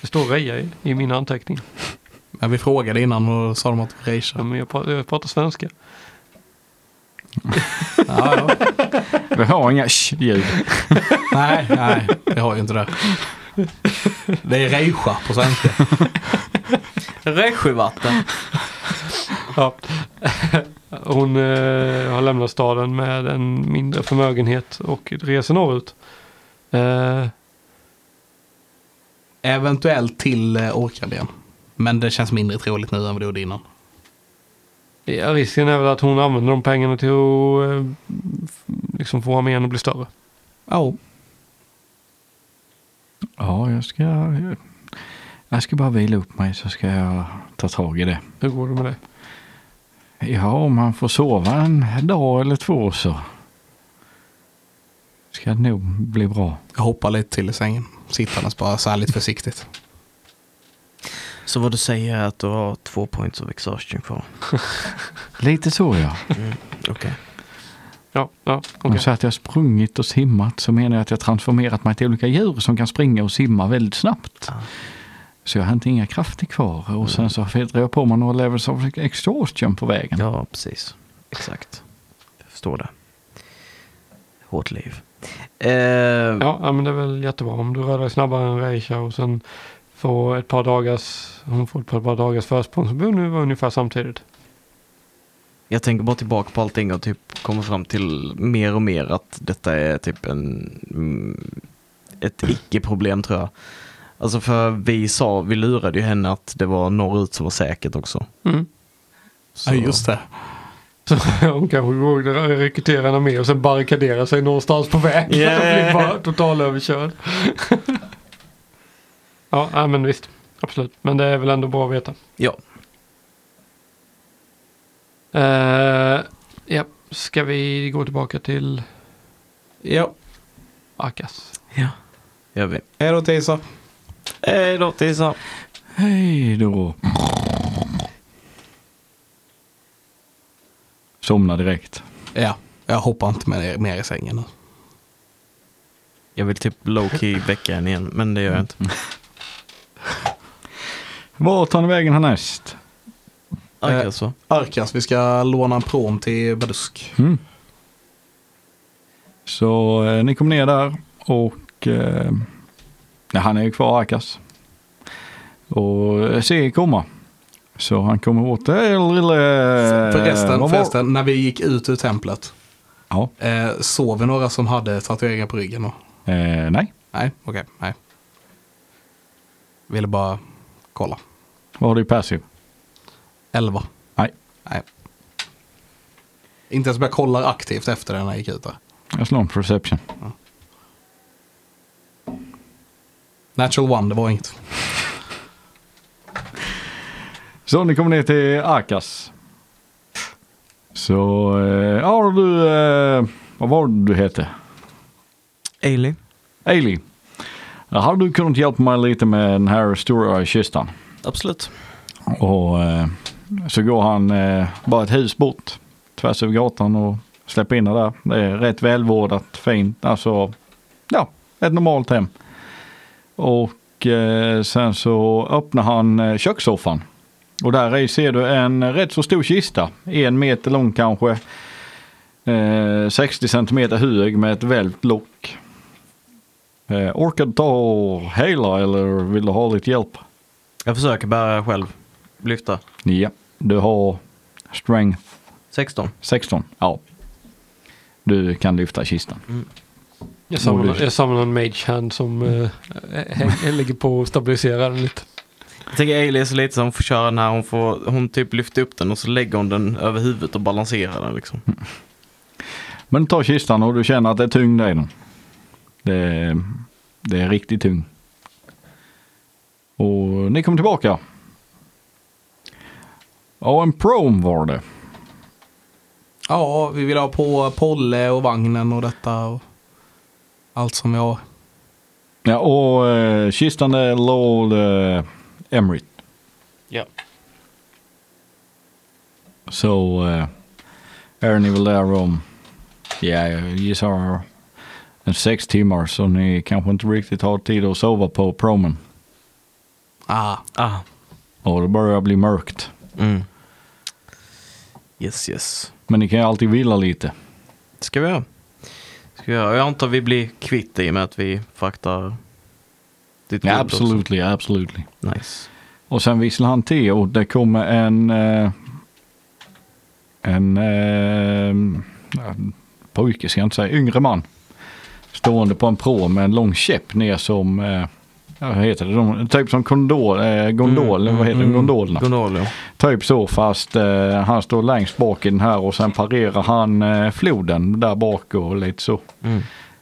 Det står Reja i, i mina anteckningar. Ja, vi frågade innan och sa de att det var Ja, Reisha. men jag, pratar, jag pratar svenska. Ja, ja. Vi har inga ljud. Nej, nej, vi har ju inte det. Det är Reisha på svenska. Rösjövatten. Ja. Hon eh, har lämnat staden med en mindre förmögenhet och reser norrut. Eh, Eventuellt till eh, Orkland igen. Men det känns mindre troligt nu än vad det gjorde innan. ja, risken är väl att hon använder de pengarna till att eh, f- liksom få armén att bli större. Ja, Ja, jag ska... Jag ska bara vila upp mig så ska jag ta tag i det. Hur går det med det? Ja, om man får sova en dag eller två så ska det nog bli bra. jag hoppar lite till i sängen. Sittandes bara så här lite försiktigt. Så vad du säger är att du har två points of exhaustion kvar? Lite så ja. Okej. Ja, ja okej. Om så att jag har sprungit och simmat så menar jag att jag transformerat mig till olika djur som kan springa och simma väldigt snabbt. Så jag har inte inga krafter kvar och sen så filtrar jag på mig några levels of exhaustion på vägen. Ja, precis. Exakt. Jag förstår det. Hårt liv. Eh, Ja, ja, men det är väl jättebra om du rör dig snabbare än Reisha och sen får ett par dagars, hon får ett par dagars försprång så borde ni vara ungefär samtidigt. Jag tänker bara tillbaka på allting och typ kommer fram till mer och mer att detta är typ en, mm, ett icke-problem tror jag. Alltså för vi sa, vi lurade ju henne att det var norrut som var säkert också. Ja, just det. Så hon kanske går och rekryterar henne med och sen barrikaderar sig någonstans på vägen. Ja, ja, Yeah. ja. blir bara totalöverkörd. ja, ja, men visst. Absolut. Men det är väl ändå bra att veta. Ja. Eh, ja, ska vi gå tillbaka till Ja, Akas? Ja. Gör vi. hej då Tisa. Hej då Tisa. Hej då! Somna direkt. Ja, jag hoppar inte mer, mer i sängen nu. Jag vill typ low-key väcka henne igen, men det gör jag inte. Var tar ni vägen härnäst? Okej, Eh, så. Arkas, vi ska låna en prom till Badusk. Mm. Så eh, ni kom ner där och eh, ja, han är ju kvar Akas. Och eh, ser er komma. Så han kommer åt "Hej, lille... Förresten, Eh, vad var-" förresten, när vi gick ut ur templet, Ja, eh, såg vi några som hade tatueringar på ryggen? Och... eh, nej. Nej, okej, nej. Ville bara kolla. Vad har du i passiv? Elva. Nej, Nej. Inte ens om jag kollar aktivt efter det när jag gick ut där. jag slår en perception. Natural one, det var inget. Så ni kommer ner till Akas. Så, eh, ja du, eh, vad var det du hette? Eh, Ailey. Ailey. Hade du kunnat hjälpa mig lite med den här stora kistan? Absolut. Och eh, så går han eh, bara ett hus bort tvärs över gatan och släpper in henne där. Det är rätt välvårdat, fint, alltså ja, ett normalt hem. Och eh, sen så öppnar han eh, kökssoffan. Och där i ser du en rätt så stor kista, en meter lång kanske. Eh, 60 centimeter hög med ett välvt lock. Eh, orkar du ta och hela eller vill du ha lite hjälp? Jag försöker bära själv. Lyfta. Ja, du har strength 16. 16. Ja. Du kan lyfta kistan. Jag samlar, Mordlyst. jag samlar en mage hand som eh, häng- ligger på och stabiliserar den lite. Jag tänker Ailey är så lite som hon får köra den här. Hon, får, hon typ lyfter upp den och så lägger hon den över huvudet och balanserar den liksom. Men du tar kistan och du känner att det är tyngd i den. Det är, det är riktigt tyngd. Och ni kommer tillbaka. Ja, en prom var det. Ja, vi vill ha på Polle och vagnen och detta och allt som vi har. Ja, och eh, kistan är Lord eh, Emrit. Ja. Så eh, är ni väl där om, ja, jag gissar en sex timmar så ni kanske inte riktigt har tid att sova på promen. Ah, Ah. Och det börjar bli mörkt. Mm. Yes, yes. Men ni kan ju alltid vila lite. Det ska vi göra. Det Ska vi göra. Och Jag antar vi blir kvitt i och med att vi fraktar ditt Ja, guld absolutely, absolutely. Också. Nice. Och sen visslar han till och det kommer en... Eh, en... Eh, ja, pojke ska jag inte säga, yngre man. Stående på en pråm med en lång käpp ner som... Eh, ja, vad heter det? De, typ som kondol, eh, gondol, Mm, vad heter mm, det? Gondolerna. Gondolio. Typ så fast eh, han står längst bak i den här och sen parerar han eh, floden där bak och lite så. Mm.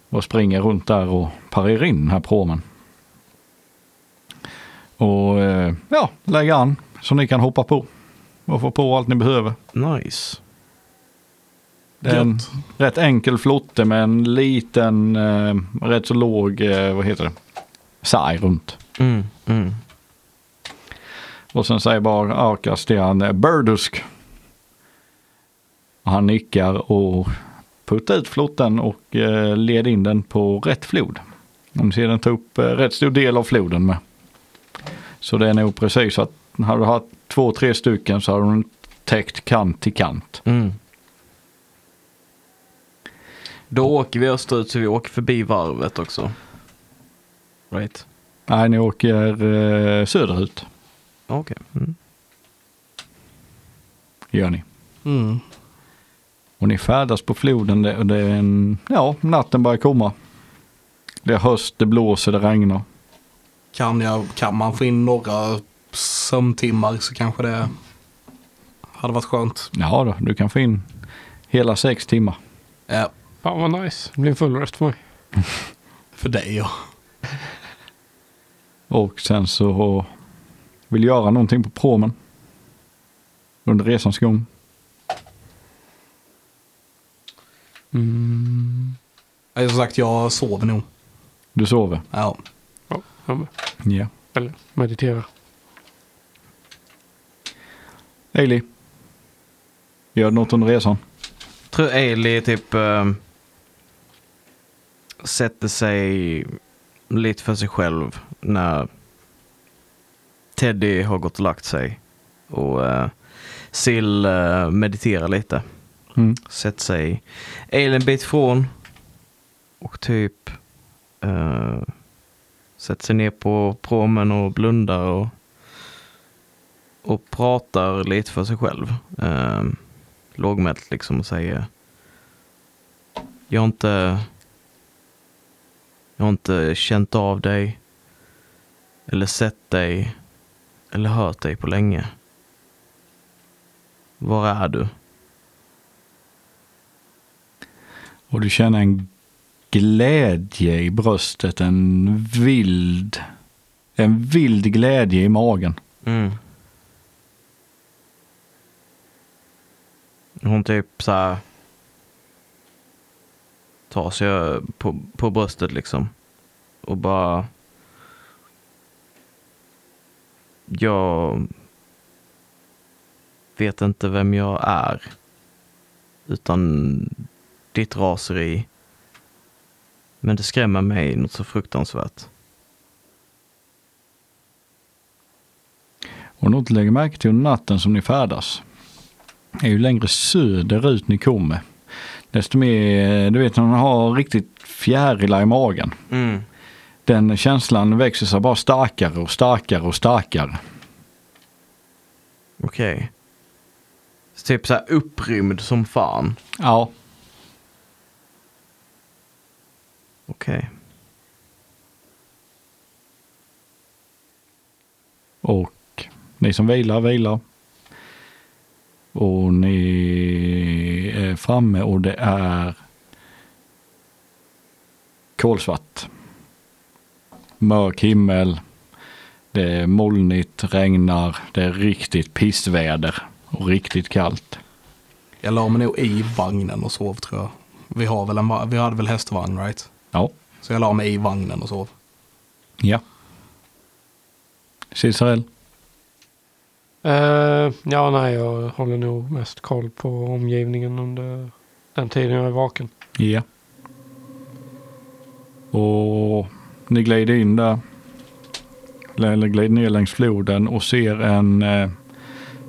och springer runt där och parerar in den här pråmen. Och eh, ja, lägger an så ni kan hoppa på och få på allt ni behöver. Nice. Det är en rätt enkel flotte med en liten, eh, rätt så låg, eh, vad heter det, saj runt. Mm, mm. Och sen säger bara Arkas till han, eh, Burdusk. Och Han nickar och puttar ut flotten och eh, leder in den på rätt flod. Om ser den ta upp eh, rätt stor del av floden med. Så det är nog precis att hade du haft två, tre stycken så hade den täckt kant till kant. Mm. Då åker vi österut så vi åker förbi varvet också. Right. Nej, ni åker eh, söderut. Okej. Mm. Gör ni. mm. Och ni färdas på floden. Det, det är en, ja, natten börjar komma. Det är höst, det blåser, det regnar. kan, jag, kan man få in några sömntimmar så kanske det hade varit skönt. Ja då, du kan få in hela sex timmar. Ja, Fan vad nice. Det blir en full rest för mig. för dig ja. Och sen så vill göra någonting på promen. Under resans gång. Ja, Som sagt, jag sover nog. Du sover. Ja. Ja, jag med. Ja. Eller meditera. Eili. Gör du något under resan? Tror Ailey typ eh, sätter sig lite för sig själv när Teddy har gått och lagt sig. Och eh, Sill eh, mediterar lite. Mm. Sätter sig Ailey en bit ifrån. Och typ eh, sätter sig ner på promen och blundar och, och pratar lite för sig själv. Eh, lågmält liksom och säger Jag har inte Jag har inte känt av dig eller sett dig eller hört dig på länge. Var är du? Och du känner en glädje i bröstet. En vild. En vild glädje i magen. Mm. Hon typ så här tar sig på, på bröstet liksom och bara jag vet inte vem jag är utan ditt raseri men det skrämmer mig något så fruktansvärt. Och något du lägger märke till under natten som ni färdas är ju längre söderut ni kommer. Desto mer, du vet när man har riktigt fjärilar i magen. Den känslan växer sig bara starkare och starkare och starkare. Okej. Så Typ så här upprymd som fan. Ja, Okej. och ni som vilar, vilar. Och ni är framme och det är kolsvart. Mörk himmel. Det är molnigt, regnar, det är riktigt pissväder och riktigt kallt. Jag la mig nog i vagnen och sov tror jag. Vi, har väl en, va- vi hade väl hästvagn right? Ja. Så jag la mig i vagnen och sov. Ja. Cicerell. Eh, ja, nej, jag håller nog mest koll på omgivningen under den tiden jag är vaken. Ja. Och ni glider in där. Eller glider ner längs floden och ser en eh,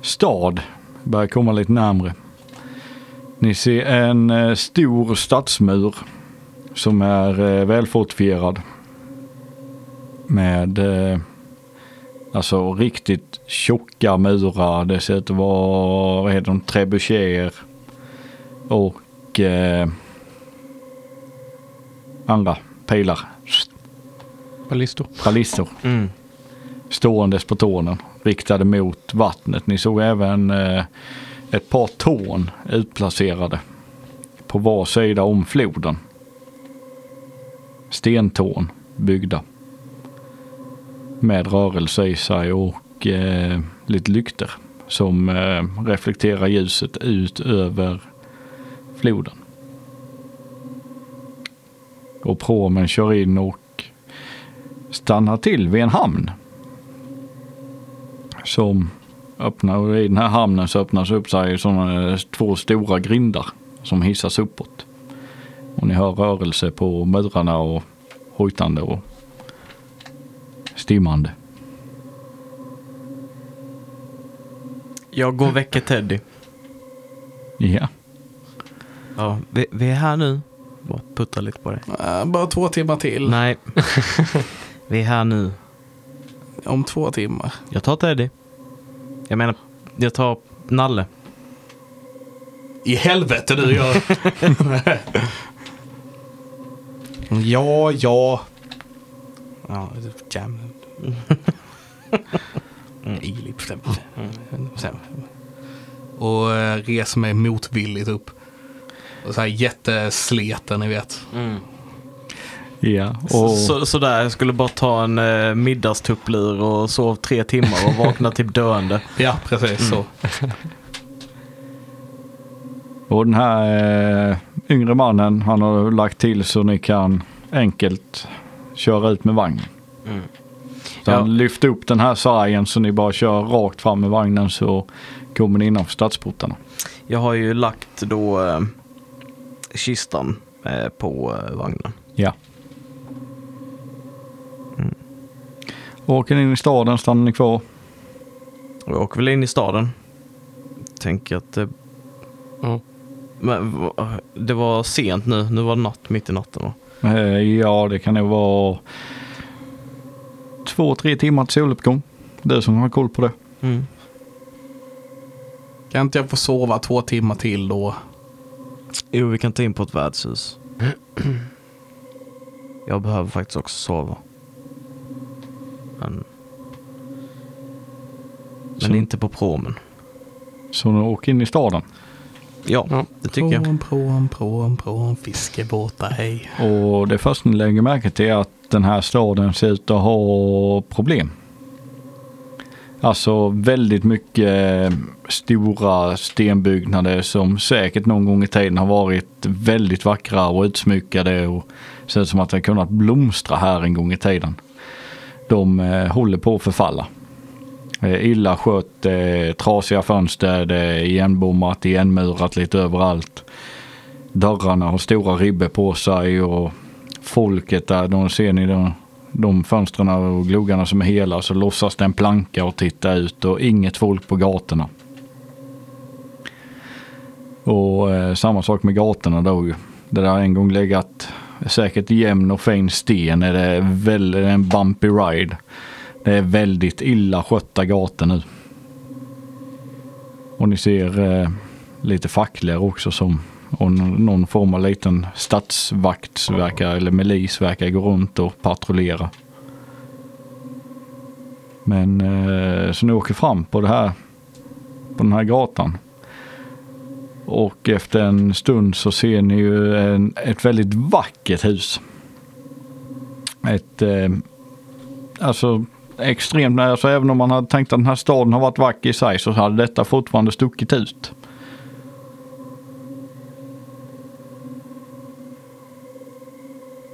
stad börja komma lite närmre. Ni ser en eh, stor stadsmur som är eh, välfortifierad. Med eh, alltså riktigt tjocka murar. Det ser ut att vara, vad heter de, trebuchéer. Och eh, andra pilar, Ballistor. ballistor, Mm. ståendes på tornen riktade mot vattnet. Ni såg även eh, ett par torn utplacerade på var sida om floden. Stentorn byggda med rörelse i sig och eh, lite lykter som eh, reflekterar ljuset ut över floden. Och promen kör in och stannar till vid en hamn. Som öppnar, och i den här hamnen så öppnas upp sig sådana eh, två stora grindar som hissas uppåt. Och ni hör rörelse på murarna och hojtande och stimmande. Jag går och väcker Teddy. Ja, Ja, vi, vi är här nu. Bara putta lite på det. Eh, bara två timmar till. Nej. vi är här nu. Om två timmar. Jag tar Teddy. Jag menar, jag tar Nalle. I helvete du gör. ja, ja. Ja, det- jam. Ilip. Och eh, reser mig motvilligt upp. Och så här jättesleten, ni vet. ja. Så, Och, så, sådär, jag skulle bara ta en eh, middagstupplur och sov tre timmar och vakna typ döende. Ja, mm. precis så. och den här eh, yngre mannen, han har lagt till så ni kan enkelt köra ut med vagn. Så Mm. Ja. han lyfter upp den här sargen så ni bara kör rakt fram med vagnen så kommer ni innanför stadsportarna. Jag har ju lagt då eh, kistan eh, på eh, vagnen. Ja. Mm. Åker ni in i staden stannar ni kvar. Och jag åker väl in i staden. Tänker att det... Ja. Men, va- det var sent nu. Nu var det natt, mitt i natten va? Eh, ja, det kan nog vara två, tre timmar till soluppgång. Du som har koll på det. Mm. Kan inte jag få sova två timmar till då? Jo, vi kan ta in på ett värdshus. jag behöver faktiskt också sova. Men... Men Så- inte på promen. Så ni åker in i staden. Ja, Ja. det tycker jag. Pråm, pråm, pråm, pråm, fiskebåtar, hej. Och det första ni lägger märke till är att den här staden ser ut att ha problem. Alltså väldigt mycket eh, stora stenbyggnader som säkert någon gång i tiden har varit väldigt vackra och utsmyckade och ser ut som att det har kunnat blomstra här en gång i tiden. De eh, håller på att förfalla. Eh, illa skött, eh, trasiga fönster, det är igenbommat, igenmurat lite överallt dörrarna har stora ribbor på sig och folket där, de ser ni de, de fönstren och gluggarna som är hela så lossas det en planka och titta ut och inget folk på gatorna. Och eh, samma sak med gatorna då ju. Det där har en gång legat säkert jämn och fin sten. Är det väl en bumpy ride. Det är väldigt illa skötta gator nu. Och ni ser eh, lite facklor också som och n- någon form av liten stadsvakt verkar, eller milis verkar gå runt och patrullera. Men eh, så ni åker fram på det här på den här gatan. Och efter en stund så ser ni ju en, ett väldigt vackert hus. Ett, eh, alltså extremt nära, alltså även om man hade tänkt att den här staden har varit vacker i sig så hade detta fortfarande stuckit ut.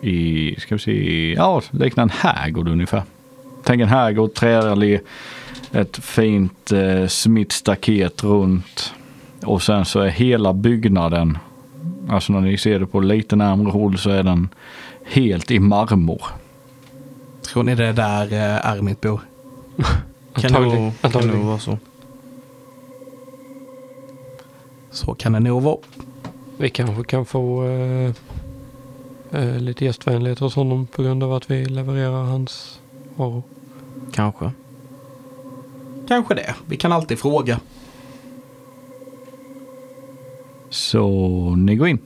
I, ska vi se, ja liknar en herrgård ungefär. Tänk en herrgård, trädallé, ett fint eh, smittstaket runt. Och sen så är hela byggnaden, alltså när ni ser det på lite närmare håll så är den helt i marmor. Tror ni det är där eh, Armit bor? Kan Oh, Antagligen. nog, kan nog Antagligen. vara så. Så kan det nog vara. Vi kanske kan få eh, eh, lite gästvänlighet hos honom på grund av att vi levererar hans varor. Kanske. Kanske det. Vi kan alltid fråga. Så ni går in.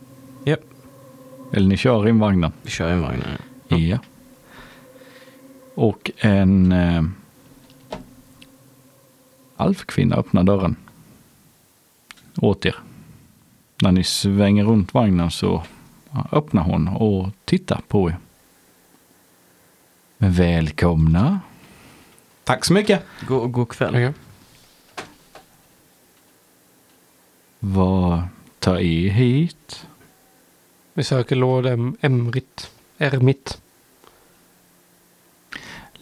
Japp. Eller ni kör in vagnen. Vi kör en vagn. Ja. Och en eh, alfkvinna öppnar dörren åt er. När ni svänger runt vagnen så ja, öppnar hon och tittar på er. Men välkomna. Tack så mycket. God, god kväll. Okej. Vad tar er hit? Vi söker Lord em- Emrit. Ermit.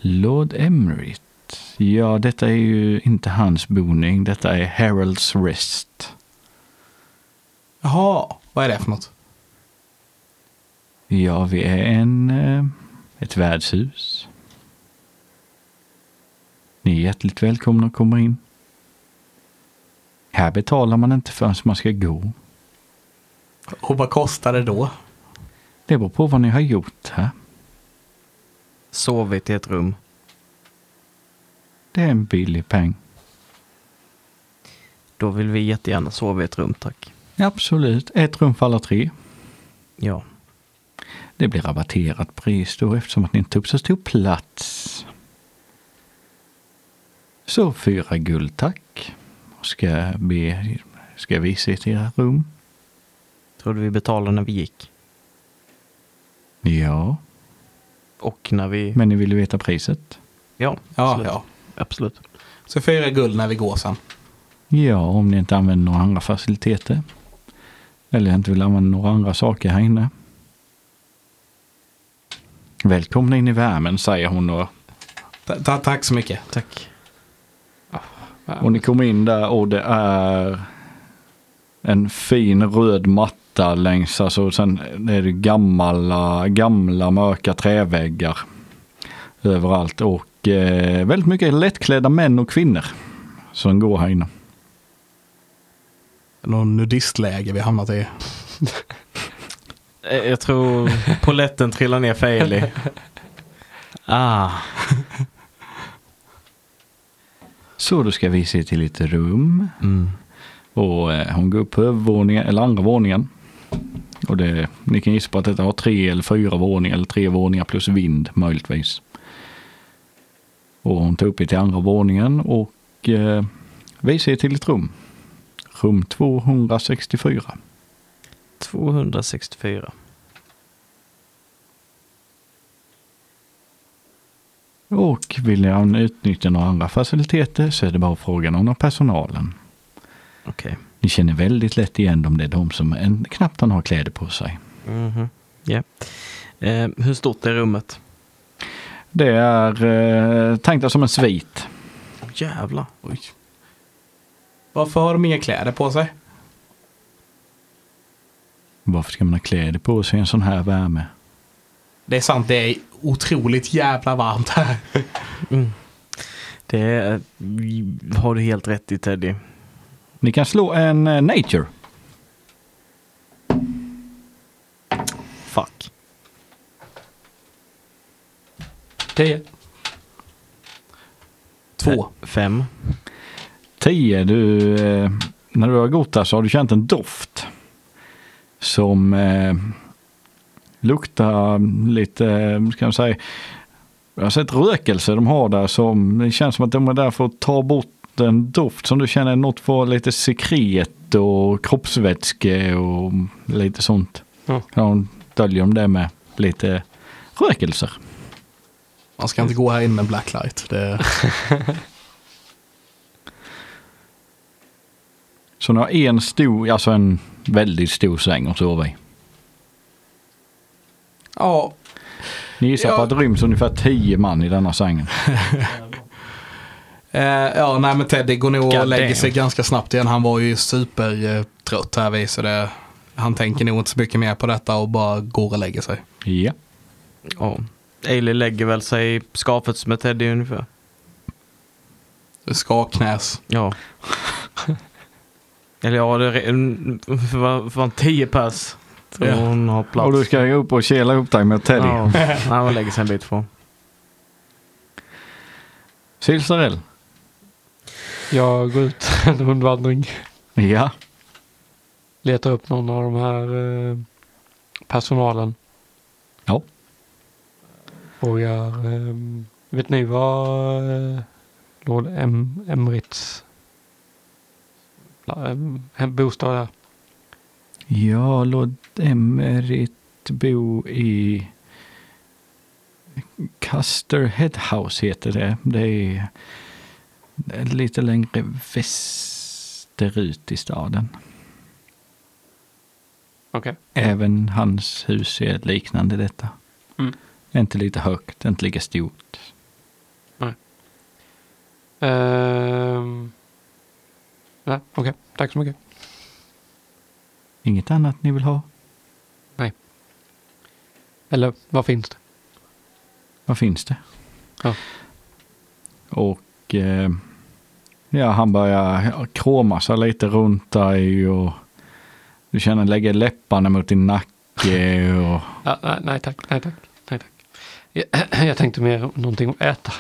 Lord Emrit. Ja, detta är ju inte hans boning. Detta är Harolds Rest. Jaha, vad är det för något? Ja, vi är en, eh, ett värdshus. Ni är hjärtligt välkomna att komma in. Här betalar man inte förrän man ska gå. Och vad kostar det då? Det beror på vad ni har gjort här. Sovit i ett rum. Det är en billig peng. Då vill vi jättegärna sova i ett rum, tack. Absolut, ett rum för alla tre. Ja. Det blir rabatterat pris då eftersom att ni inte tog så stor plats. Så fyra guld tack. Ska, be, ska visa er till era rum. Trodde vi betalade när vi gick. Ja, Och när vi... men ni vill ju veta priset? Ja, Ja, absolut. ja. absolut. Så fyra guld när vi går sen. Ja, om ni inte använder några andra faciliteter. Eller inte vill använda några andra saker här inne. Välkomna in i värmen, säger hon. Och, Ta- ta- tack så mycket. Tack. och ni kommer in där och det är en fin röd matta längs, alltså sen är det gamla, gamla mörka träväggar överallt och eh, väldigt mycket lättklädda män och kvinnor som går här inne. Någon nudistläger vi hamnat i. Eh, Jag tror poletten trillar ner för Eli. Ah, Så då ska vi se till lite rum. mm. Och eh, hon går upp på övervåningen, eller andra våningen. Och det, ni kan gissa på att detta har tre eller fyra våningar, eller tre våningar plus vind möjligtvis. Och hon tar upp er till andra våningen och eh, visar er till ett rum. Rum 264. 264. Och vill ni utnyttja några andra faciliteter så är det bara att fråga någon av personalen. Okej. Ni känner väldigt lätt igen om det är de som en, knappt har kläder på sig. Mhm. Ja. Eh, hur stort är rummet? Det är eh, tänkt som en svit. Jävlar. Oj. Varför har de inga kläder på sig? Varför ska man ha kläder på sig i en sån här värme? Det är sant, det är otroligt jävla varmt här. Det är, eh, har du helt rätt i Teddy. Ni kan slå en eh, nature. Fuck. 10. Två. Fem. 10. Du, eh, när du har gått där så har du känt en doft som eh, luktar lite, eh, ska man säga, jag har sett rökelse de har där som det känns som att de är där för att ta bort den doft som du känner är något för lite sekret och kroppsvätske och lite sånt. Ja. De döljer de det med lite rökelser. Man ska inte gå här inne med blacklight. Det... Så ni har en stor, alltså en väldigt stor säng att sova i. Ja, Ni gissar Ja. på att det ryms ungefär 10 man i denna sängen. Eh, ja, nej men Teddy går nog och God lägger damn. sig ganska snabbt igen. Han var ju supertrött här vid, så det, han tänker nog inte så mycket mer på detta och bara går och lägger sig. Ja. Ja. Ailey lägger väl sig i skafet som är Teddy ungefär. Skaknäs. Ja. Eller ja, det är mm, för vad- för fan 10 pers. Tror Ja. hon har plats. Och du ska upp och kela upp dig med Teddy. Ja. Nej, hon lägger sig en bit från. Silsarell. Jag går ut en hundvandring. Ja. Letar upp någon av de här eh, personalen. Ja. Frågar. Eh, vet ni vad eh, Lord em, Emrits la- em, hem- bostad är? Ja, låt Emerit bo i Custerhead House heter det. Det är lite längre västerut i staden. Okej. Även hans hus är liknande detta. Mm. Inte lite högt, inte lika stort. Ehm, nej, okej. Tack så mycket. Inget annat ni vill ha? Eller vad finns det? Vad finns det? Ja. Och eh, ja, han börjar kroma sig lite runt dig och du känner han lägger läpparna mot din nacke och Ja, nej, nej tack, nej tack, nej tack. Jag, jag tänkte mer någonting att äta.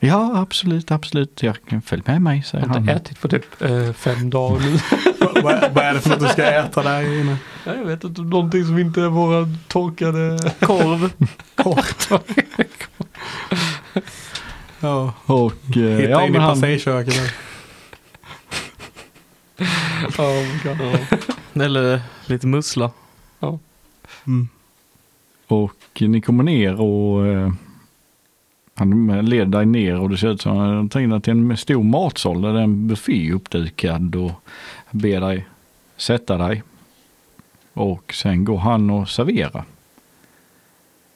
ja, absolut, absolut, jag kan följa med mig, säger Jag har inte han. ätit på typ eh, fem dagar nu. vad, vad är det för något du ska äta där inne? Nej, jag vet inte, någonting som inte är våra torkade... Korv. Ja, Och eh, hitta ja, in i men han, passageköket. där. Oh, God. Eller lite mussla. Mm. och ni kommer ner och eh, han leder dig ner och det ser ut som att han tagit dig till en stor matsal där det är en buffé uppdukad och ber dig sätta dig. Och sen går han och serverar.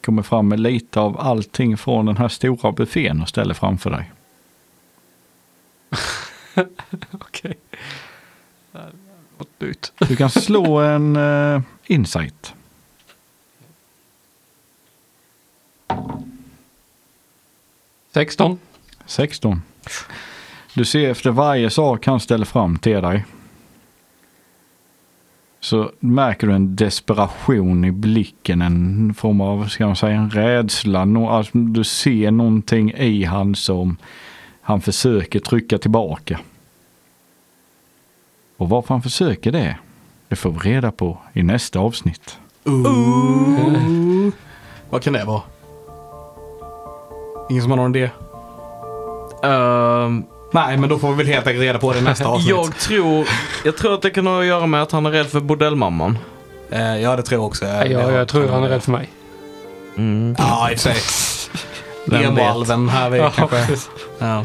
Kommer fram med lite av allting från den här stora buffén och ställer framför dig. Okej. Något nytt. Du kan slå en eh, insight. Sexton. 16. Du ser efter varje sak han ställer fram till dig. Så märker du en desperation i blicken, en form av, ska man säga, en rädsla. Nå- alltså, Du ser någonting i han som han försöker trycka tillbaka. Och varför han försöker det, det får vi reda på i nästa avsnitt. Vad kan det vara? Ingen som har någon idé? Ehm, Nej, men då får vi väl helt enkelt reda på det i nästa avsnitt. jag tror, jag tror att det kan ha att göra med att han är rädd för bordellmamman. Eh, ja, det tror jag också. Ja, jag, jag tror han är rädd för mig. Mm. Ja, i och för sig. Vem vet? Emoalven här vid kanske. precis. Ja.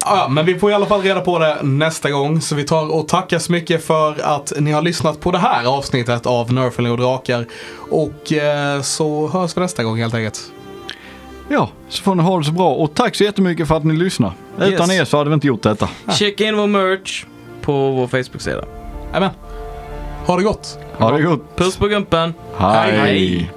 Ja, men vi får i alla fall reda på det nästa gång. Så vi tar och tackar så mycket för att ni har lyssnat på det här avsnittet av Nerfling och Drakar. Och eh, så hörs vi nästa gång helt enkelt. Ja, så får ni ha det så bra och tack så jättemycket för att ni lyssnar. Utan Yes. er så hade vi inte gjort detta. Checka in vår merch på vår Facebook-sida. Amen. Ha det gott! Ha det gott! Puss på gumpen! Hej! Hej.